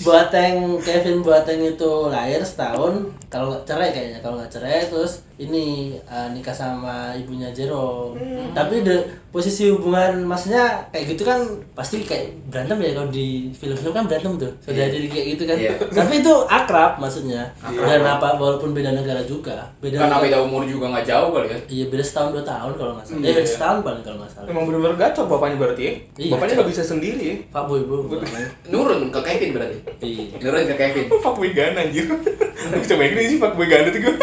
Boateng Kevin Boateng itu lahir setahun kalau nggak cerai kayaknya kalau nggak cerai terus ini eh, nikah sama ibunya Jerome tapi de, posisi hubungan maksudnya kayak gitu kan pasti kayak berantem ya kalau di film-film kan berantem tuh sudah Iya. jadi kayak gitu kan Iya. tapi itu akrab maksudnya Akrab. dan apa walaupun beda negara juga beda Karena negara- beda umur juga nggak jauh kali ya. iya beda setahun dua tahun kalau nggak salah Iya, Eh, beda iya. setahun paling kalau nggak salah Emang bener-bener gacor bapaknya berarti ya. Iya, bapaknya gacor. nggak bisa sendiri ya. fuckboy bro bapaknya. Nurun ke Kevin berarti. iya Nurun ke Kevin. Fuckboy Gana anjir. Aku coba ini sih fuckboy Gana tuh gue.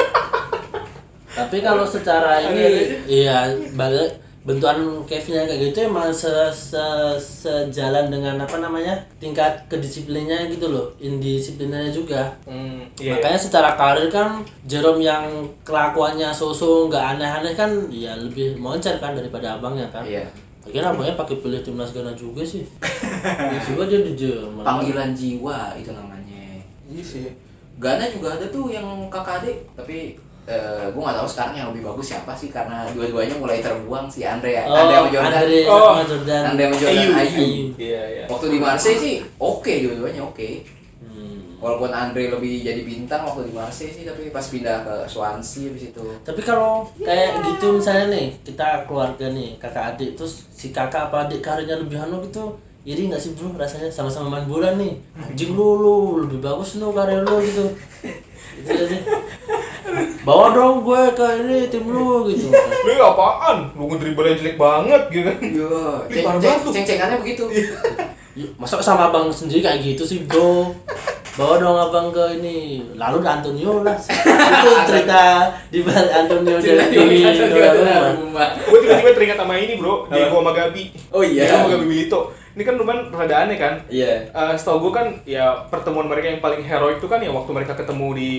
Tapi kalau secara Ada-ada ini iya balik bentukan Kevinnya kayak gitu emang se, se- sejalan dengan apa namanya tingkat kedisiplinnya gitu loh indisiplinannya juga Hmm, iya. makanya secara karir kan Jerome yang kelakuannya sosok nggak aneh-aneh kan ya lebih moncer kan daripada abangnya kan Iya. akhirnya abangnya pakai pilih timnas Ghana juga sih ya juga dia di Jerman Panggilan jiwa itu namanya. Iya sih. Ghana juga ada tuh yang kakak adik tapi eh gue nggak tahu sekarang yang lebih bagus siapa sih karama dua-duanya mulai terbuang si Andre ya. oh Andre sama Jordan Andre Oh, sama Jordan Andre sama Jordan Ayu. Ayu Ayu. Iya, iya. waktu di Marseille sih oke dua-duanya oke Hmm. walaupun Andre lebih jadi bintang waktu di Marseille sih tapi pas pindah ke Swansea abis itu Tapi kalau kayak gitu misalnya nih, kita keluarga nih, kakak adik terus si kakak apa adik karirnya lebih anu gitu, iri nggak sih bro rasanya sama-sama main bola nih. Anjing lu lu lebih bagus lu karir lu gitu. Itu nggak sih. Bawa dong gue ke ini tim lu gitu. Lu apaan? Lu ngedribble jelek banget gitu kan. Yo, Ih, ceng parah ceng banget tuh. ceng-cengannya begitu Masa sama abang sendiri kayak gitu sih bro. Bawa dong abang ke ini. Lalu Antonio lah. Itu cerita di balik Antonio gitu. Ceng- dari ceng- di ceng- Donnarumma. gue tiba-tiba teringat sama ini bro Diego sama Gabi Oh, iya. Diego sama Gabi Milito ini kan lumayan rada aneh kan Iya. Eh, setahu gue kan ya pertemuan mereka yang paling heroik tuh kan yang waktu mereka ketemu di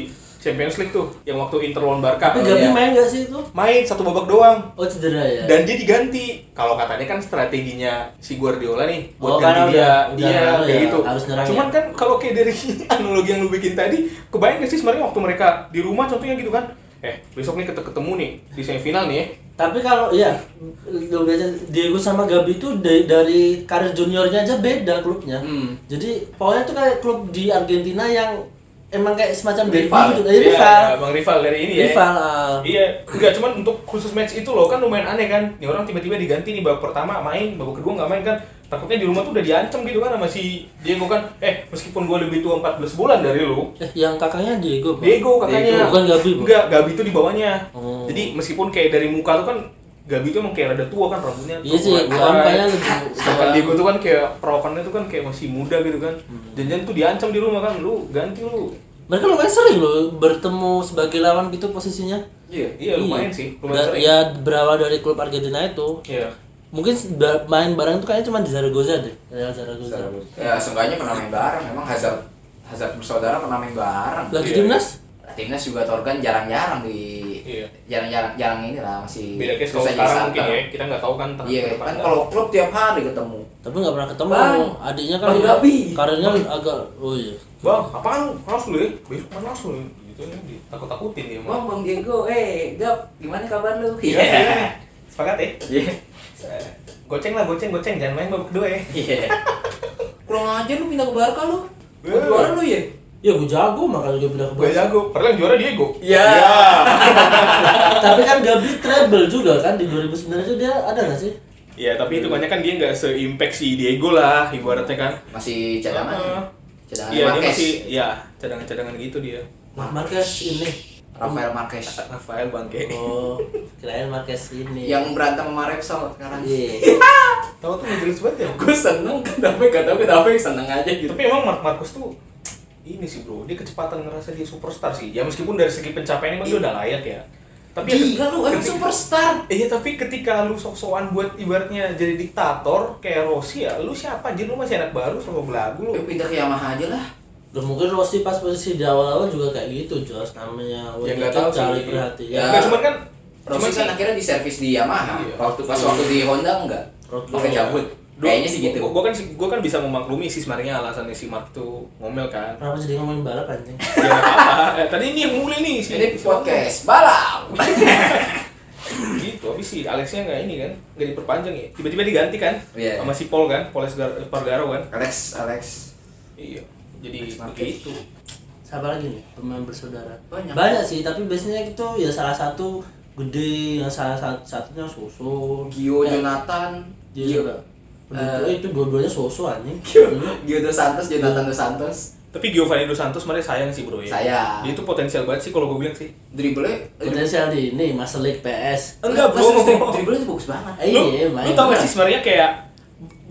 Champions League tuh yang waktu Inter lawan Barca Tapi Oh, Gabi iya. main gak sih itu? main satu babak doang Oh cedera ya. dan dia diganti kalau katanya kan strateginya si Guardiola nih buat Oh, karena ganti dia udah- dia udah kayak ya, gitu harus nyerang cuman ya. kan kalau kayak dari analogi yang lu bikin tadi kebayang gak sih sebenarnya waktu mereka di rumah contohnya gitu kan eh besok nih ket- ketemu nih di semifinal nih ya Tapi kalau iya, lu biasa Diego sama Gabi itu dari, dari karir juniornya aja beda klubnya. Hmm. Jadi pokoknya tuh kayak klub di Argentina yang emang kayak semacam derby Rival. gitu, eh, Iya, rival. iya, Bang rival dari ini ya. Rival, ah. Iya, enggak cuman untuk khusus match itu loh kan lumayan aneh kan. Nih orang tiba-tiba diganti nih babak pertama main, babak kedua nggak main kan. Takutnya di rumah tuh udah diancam gitu kan sama si Diego kan. Eh, meskipun gua lebih tua 14 bulan dari lu, Eh, yang kakaknya Diego. Bang. Diego kakaknya. Diego, bukan Gabi, Bu. Enggak, Gabi tuh di bawahnya. Oh. Jadi meskipun kayak dari muka tuh kan Gabi tuh emang kayak rada tua kan rambutnya. Iya sih, terurai-urai. angkanya lebih Sedangkan Diego tuh kan kayak perawakannya tuh kan kayak masih muda gitu kan. Jangan-jangan tuh diancam di rumah kan lu ganti lu. Mereka lumayan sering loh bertemu sebagai lawan gitu posisinya. Iya. Iya, lumayan sih, lumayan Da- sering. Ya berawal dari klub Argentina itu. Iya. Mungkin ba- main bareng tuh kayaknya cuma di Zaragoza deh. Real Zaragoza. Ya, seenggaknya pernah main bareng. Memang Hazard Hazard bersaudara pernah main bareng. Iya. Lagi timnas? timnas juga Torgan jarang-jarang di Iya. jarang-jarang jarang ini lah masih beda case kalau susah sekarang mungkin disangkal. ya kita nggak tahu kan tentang Iya ke kan depannya. kalau klub tiap hari ketemu. tapi nggak pernah ketemu Bang. adiknya kan Bang Gabi. karirnya agak oh iya bang apaan harus lu ya besok mana harus lu ya gitu ya takut takutin dia mah Bang Bang Diego, eh Gap, gimana kabar lu? Iya. Iya. Sepakat ya? Iya. Eh, Goceng lah, goceng, goceng. Jangan main babak kedua ya. Iya. Kurang aja lu pindah ke Barca lu. Eh. Mau Juara lu ya? ya gue jago makanya gue pindah ke gue Barca jago padahal yang juara Diego Iya. tapi kan Gabi treble juga kan di 2009 itu dia ada nggak sih ya tapi hitungannya kan dia nggak se-impact si Diego lah ibaratnya kan Masih cadangan. ya? Heeh. Cadangan Iya dia Marquez. masih ya cadangan-cadangan gitu dia Nah, Marquez ini Rafael Marquez. Rafael bangke oh kirain Marquez ini Yang berantem sama Repsol sekarang. Iya. Tahu tuh ngejelas banget ya. Gue seneng kenapa gak tau kenapa seneng aja gitu. Tapi emang Mark Marcus tuh ini sih bro, dia kecepatan ngerasa dia superstar sih. Ya meskipun dari segi pencapaian emang dia udah layak ya. Tapi Gila ya, lu emang ketika- superstar. Iya tapi ketika lu sok-sokan buat ibaratnya jadi diktator kayak Rossi ya, lu siapa anjir lu masih anak baru sama belagu lu. Lu pindah ke Yamaha aja lah. Dan mungkin Rossi pas posisi di awal-awal juga kayak gitu, Jos. Namanya Ya, waktu nggak itu tahu sih. cari perhatian. Ya. Enggak cuman kan Rossi kan akhirnya di servis di Yamaha. Iya. Waktu pas waktu di Honda enggak. Rossi. Pakai cabut. Kayaknya sih gitu. Gue gua kan gua kan bisa memaklumi sih sebenarnya alasannya si Mark tuh ngomel kan. Kenapa jadi ngomongin balap anjing? Ya nggak apa-apa. Eh, tadi ini yang mulai nih si Ini si- podcast balap. Gitu, tapi si Alexnya nggak ini kan, nggak diperpanjang ya. Tiba-tiba diganti kan, Iya. sama si Paul kan, Paul Espargaro kan. Alex, Alex. Iya. Jadi Alex Marquez. begitu. Siapa lagi nih pemain bersaudara? Banyak. sih, tapi biasanya itu ya salah satu gede, yang salah satu satunya susu. Gio Eh, Jonathan. Dia juga. Penduduk- Eh. Iya. eh, itu dua-duanya susu anjing. Hmm. Gio Dos Santos, Jonathan Dos Santos. Tapi Giovanni Dos Santos sebenarnya sayang sih bro ya. Sayang. Dia itu potensial banget sih kalau gue bilang sih. Dribble Potensial di ini Master League PS. Enggak, bro. Dribble itu bagus banget. Eh, lu, Iya, main. lu tau gak sih sebenarnya kayak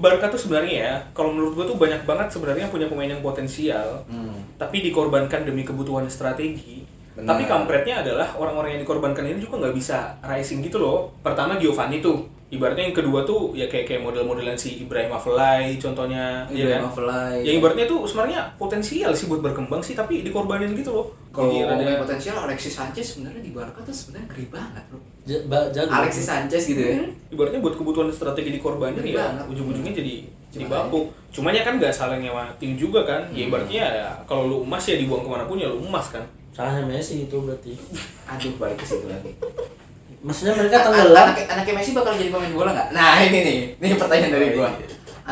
Barca tuh sebenarnya ya, kalau menurut gue tuh banyak banget sebenarnya punya pemain yang potensial, Hmm. tapi dikorbankan demi kebutuhan strategi. Benar. Tapi kampretnya adalah orang-orang yang dikorbankan ini juga nggak bisa rising gitu loh. Pertama Giovanni tuh, ibaratnya yang kedua tuh ya kayak kayak model-modelan si Ibrahim Afellay contohnya, ya iya. Ibrahim kan? Afellay. Yang ibaratnya tuh sebenarnya potensial sih buat berkembang sih, tapi dikorbanin gitu loh. Kalau Jadi ngomongin rada- potensial Alexis Sanchez sebenarnya di Barca tuh sebenarnya geri banget, Bro. Ja- ba- jago. Alexis Sanchez gitu Iya. ya. Hmm? ibaratnya buat kebutuhan strategi dikorbanin Bener ya banget. ujung-ujungnya jadi jadi Cuman bapuk cuman ya kan nggak saling nyewa tim juga kan ya ibaratnya ya, kalau lu emas ya dibuang kemana pun ya lu emas kan Salahnya Messi itu berarti. Aduh, balik ke situ lagi. Nah, Maksudnya mereka Anak, tenggelam. anaknya Messi bakal jadi pemain bola nggak? Nah ini nih, ini pertanyaan Oh, dari gua. iya.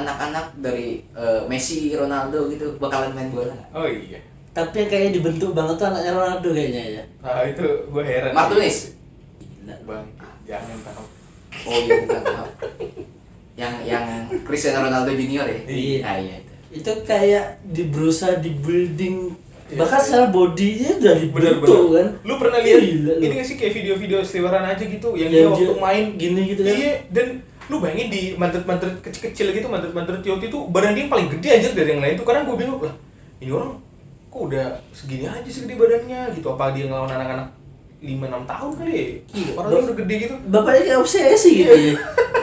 Anak-anak dari eh, Messi, Ronaldo gitu bakalan main bola nggak? Oh iya. tapi yang kayaknya dibentuk banget tuh anaknya Ronaldo kayaknya ya. Ah itu gue Iya. heran. Martinez? Gila. Bang, jangan tahu. Oh iya bukan maaf. Yang yang Cristiano Ronaldo Junior ya? Iya. Nah, iya itu. itu kayak di berusaha di building bahkan sel bodinya udah dibentuk Bener-bener. kan Lu pernah lihat Gila, lu. ini gak sih kayak video-video seliweran aja gitu yang Yang dia waktu dia main gini gitu kan? Iya, dan lu bayangin di mantret-mantret kecil-kecil gitu, mantret-mantret Yoti tuh badan dia yang paling gede aja dari yang lain tuh. Karena gue bingung lah, ini orang kok udah segini aja segede badannya gitu. Apa dia ngelawan anak-anak 5-6 tahun kali ya? Iya, Orang bro. dia udah gede gitu. bapaknya kayak obsesi gitu ya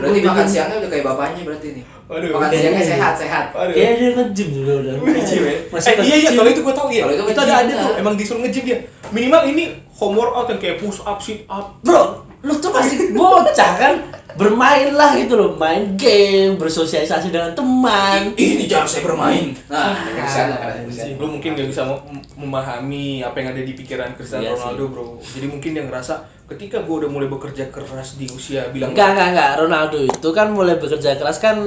Berarti makan siangnya udah kayak bapaknya berarti nih. Waduh. makan Iya, siangnya iya. sehat-sehat. Aduh. kayaknya dia nge-gym juga udah Nge-gym ya? masih eh, iya iya nge-gym. kalau itu gue tau ya. Kalau itu Itu, nge-gym ada ada lah. tuh emang disuruh nge-gym dia. Minimal ini home workout yang kayak push up, sit up. bro lu tuh masih bocah kan bermainlah gitu loh main game bersosialisasi dengan teman Ini cara saya bermain. Nah, Ah, Cristiano Sih, Cristiano. lu mungkin gak bisa mem- memahami apa yang ada di pikiran Cristiano Iya sih. Ronaldo bro jadi mungkin dia ngerasa ketika gue udah mulai bekerja keras di usia bilang "Iya, enggak enggak enggak Ronaldo itu kan mulai bekerja keras kan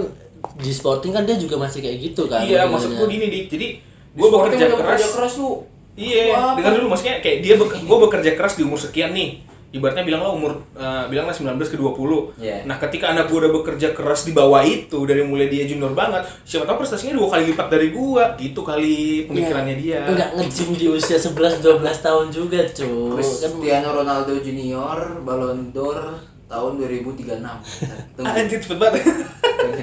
di Sporting kan dia juga masih kayak gitu kan iya maksud modelnya. gue gini dik jadi Di gue Sporting bekerja udah keras bekerja keras lu. Wah, Iya, dengar dulu maksudnya kayak dia gue bekerja keras di umur sekian nih. Ibaratnya bilanglah umur eh, bilanglah 19 ke 20. Iya. Nah, ketika anak gue udah bekerja keras di bawah itu dari mulai dia junior banget, siapa tahu prestasinya dua kali lipat dari gua. Gitu kali pemikirannya dia. Enggak nge-gym di usia 11 12 tahun juga, cuy. Kan Cristiano Ronaldo Junior Ballon d'Or tahun 2036. Tunggu. Anjir cepet banget.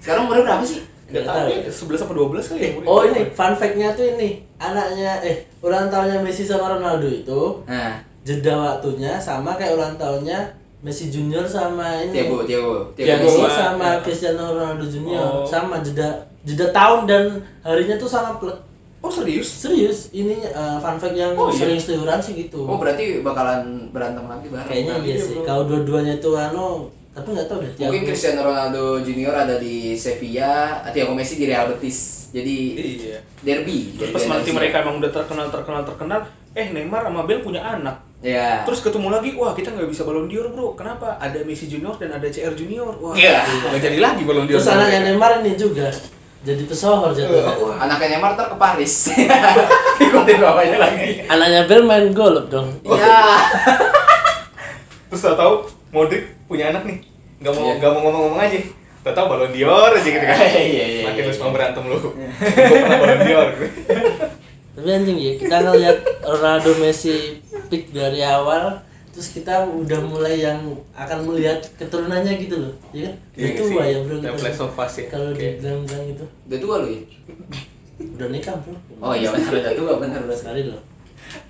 Sekarang umurnya berapa sih? Enggak tahu tahu. ya, 11 apa 12 kali ya. umurnya. Oh ini fun fact-nya tuh ini anaknya eh ulang tahunnya Messi sama Ronaldo itu Nah, jeda waktunya sama kayak ulang tahunnya Messi Junior sama ini Thiago, Thiago, Thiago Messi. Messi sama Ya. Cristiano Ronaldo Junior Oh. sama jeda jeda tahun dan harinya tuh sama plek. Oh serius? Serius, ini eh, fun fact yang Oh, iya. sering seliuran sih gitu. Oh berarti bakalan berantem lagi bareng. Kayaknya berarti. iya sih. Kalau dua-duanya itu anu, tapi nggak tahu deh. Mungkin Thiago. Cristiano Ronaldo Junior ada di Sevilla, ah, Thiago Messi di Real Betis. Jadi Iya. derby. Terus derby pas nanti Andalusia. mereka emang udah terkenal terkenal terkenal, eh Neymar sama Bale punya anak. Iya. Terus ketemu lagi, wah kita nggak bisa Ballon d'Or bro, kenapa? Ada Messi Junior dan ada CR Junior, wah Iya. nggak jadi lagi Ballon d'Or. Terus sama anaknya mereka. Neymar ini juga jadi pesohor jatuh. Anaknya Neymar ntar ke Paris. Ikutin bapaknya lagi. Anaknya Bel main golop dong. Oh. Iya. Terus tau tau Modric punya anak nih. Gak mau Iya. nggak mau ngomong-ngomong aja. Tau tau balon dior aja gitu kan. Iya, iya, iya, Makin iya. lu semua berantem lu. Gue pernah balon dior. Tapi anjing ya, kita ngeliat Ronaldo Messi pick dari awal terus kita udah mulai yang akan melihat keturunannya gitu loh. Ya kan? Iya Udah nggak tua sih? ya bro. kita. Yang flash of fast ya. Kalau Kayak- dibilang-bilang itu Udah tua lu ya? udah nikah bro. Oh iya benar udah tua benar udah tua. Sekali loh.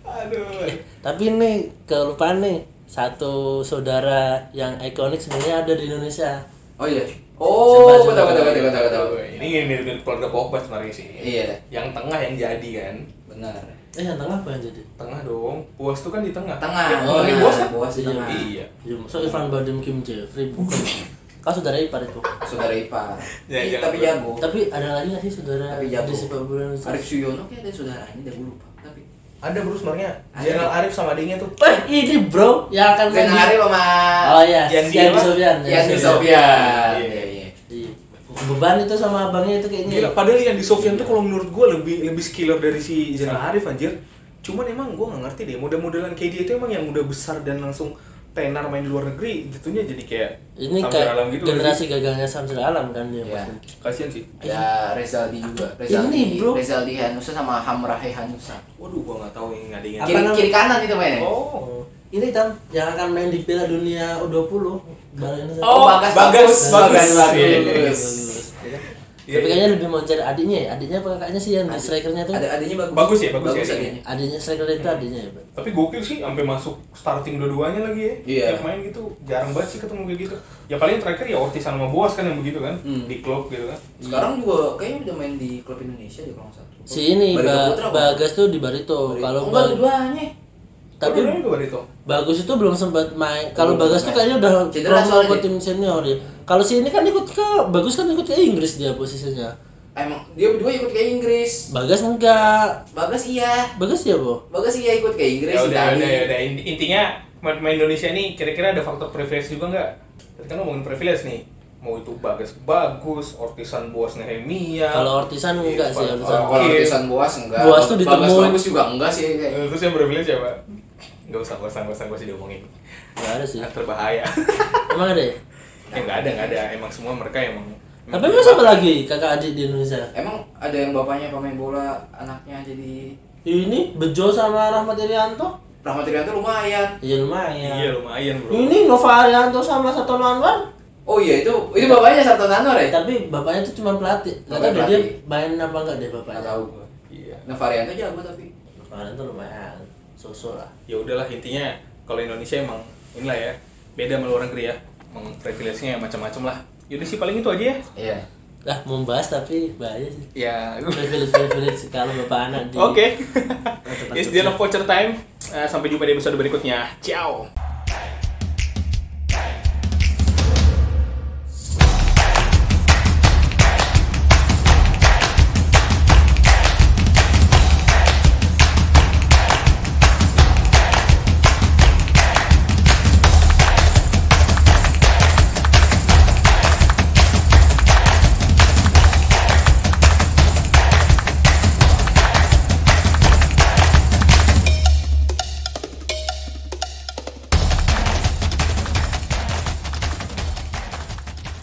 Aduh. Tapi ini kelupaan nih satu saudara yang ikonik sebenarnya ada di Indonesia. Oh iya. Oh, Coba, betul coba. betul betul betul betul. Ini mirip-mirip keluarga Pogba sebenarnya sih. Iya, Yang tengah yang jadi kan. benar. Eh yang tengah apa yang jadi? Tengah dong. Puas tuh kan di tengah. Tengah. Ya, Oh, ini nah, puas kan? Boas di tengah. Iya. Ya, so Ivan Badim Kim Jeffrey bukan. Kau saudara ipar itu. Saudara Ipa. Ya, Ih, jangan tapi lupa. Oh. jago. Tapi ada lagi nggak sih saudara Tapi jago. di sepak bola Indonesia? Arif Suyono kayak ada saudaranya, dah gue lupa. Tapi Ada bro sebenarnya. Ada. Jenderal Arif sama adiknya tuh. Eh ini bro yang akan main Zainal di- Arif sama Ya, kan Oh iya, Yang Yan dia- Sofian. Yan Yan Sofian. Sofian. Iya. Iya, iya. Iya. Beban itu sama abangnya itu kayaknya. Gila, padahal yang di Sofyan tuh kalau menurut gue lebih lebih skiller dari si Iya. Jenderal Arif anjir. Cuman emang gue nggak ngerti deh, model-modelan kayak dia itu emang yang udah besar dan langsung tenar main di luar negeri, jatuhnya jadi kayak Ini Samsir kayak Alam gitu nggak generasi gagalnya Samsul Alam kan Iya. dia. maksudnya. sih? Kasian sih. Iya. Ada Rezaldi juga. Rezaldi, bro. Rezaldi Hanusa sama Hamrahe Hanusa. Waduh, gue nggak tahu yang ngadengin. Apa Kiri namanya? kiri kanan itu mainnya. Oh, Ini tam yang akan main di Piala Dunia U20. Baru ini Oh, bagas, bagus, bagus, bagus. bagus. Iya, iya, Iya, Tapi kayaknya lebih moncer adiknya ya. Adiknya apa kakaknya sih yang di strikernya tuh? Ada adanya bagus. Bagus ya, Iya, bagus ya, adanya. Adiknya striker itu adiknya ya, Bang. Tapi gokil sih sampai masuk starting dua-duanya lagi ya. Iya. Tiap main gitu jarang banget sih ketemu kayak gitu. Ya paling terakhir ya Ortiz sama Boas kan yang begitu kan Hmm. di klub gitu kan. Sekarang gua kayaknya udah main di klub Indonesia di kalau nggak salah. Si ini Barito Ba- Putra, Bagas tuh di Barito. Barito. Kalau enggak Ba- duanya. tapi Dua-duanya juga Barito. Bagus itu belum sempat main. Kalau Belum Bagas tuh sempat kayaknya main. udah Cedera promo soalnya ke dia. tim senior ya. Kalau si ini kan ikut ke Bagus kan ikut ke Inggris dia posisinya. Emang dia berdua ikut ke Inggris. Bagas enggak. Bagas iya. Bagas ya, Bo? Bagas iya ikut ke Inggris Ya udah, Itali. udah, ya udah. Inti- Intinya main-main Indonesia nih kira-kira ada faktor privilege juga nggak? Tadi kan ngomongin privilege nih. Mau itu bagus bagus, Ortisan Boas Nehemia. Iya, Kalau Ortisan enggak sih, Ortisan. Kalau Oke. Desan Boas enggak. Boas tuh Bagas ditemuin. bagus juga enggak sih kayaknya. Eh, Terus yang privilege siapa? Gak usah, gak usah, gak usah, gak usah diomongin. Enggak ada sih. Nah, terbahaya. Emang ada ya? ya nggak ada, nggak ada. Emang semua mereka emang. Tapi emang siapa lagi kakak adik di Indonesia? Emang ada yang bapaknya pemain bola, anaknya jadi Ini Bejo sama Rahmat Irianto? Rahmat Irianto lumayan. Iya lumayan. Iya lumayan bro. Ini Nova Arianto sama Satono Anwar? Oh iya itu itu bapaknya Sarto Nanor ya? Eh, tapi bapaknya tuh cuma pelatih. Enggak Bapaknya tahu deh dia pelatih. main apa enggak deh bapaknya. Enggak tahu gua. Iya. Nah variannya jago tapi. Nova Arianto lumayan. Sosok lah. ya udahlah intinya kalau Indonesia emang inilah ya beda sama luar negeri ya emang privilege-nya ya macam-macam lah yaudah sih paling itu aja ya Iya. Lah mau bahas tapi bahaya sih. ya privilege privilege kalau bapak anak di oke tempat it's the kerja. love voucher time Eh, sampai jumpa di episode berikutnya ciao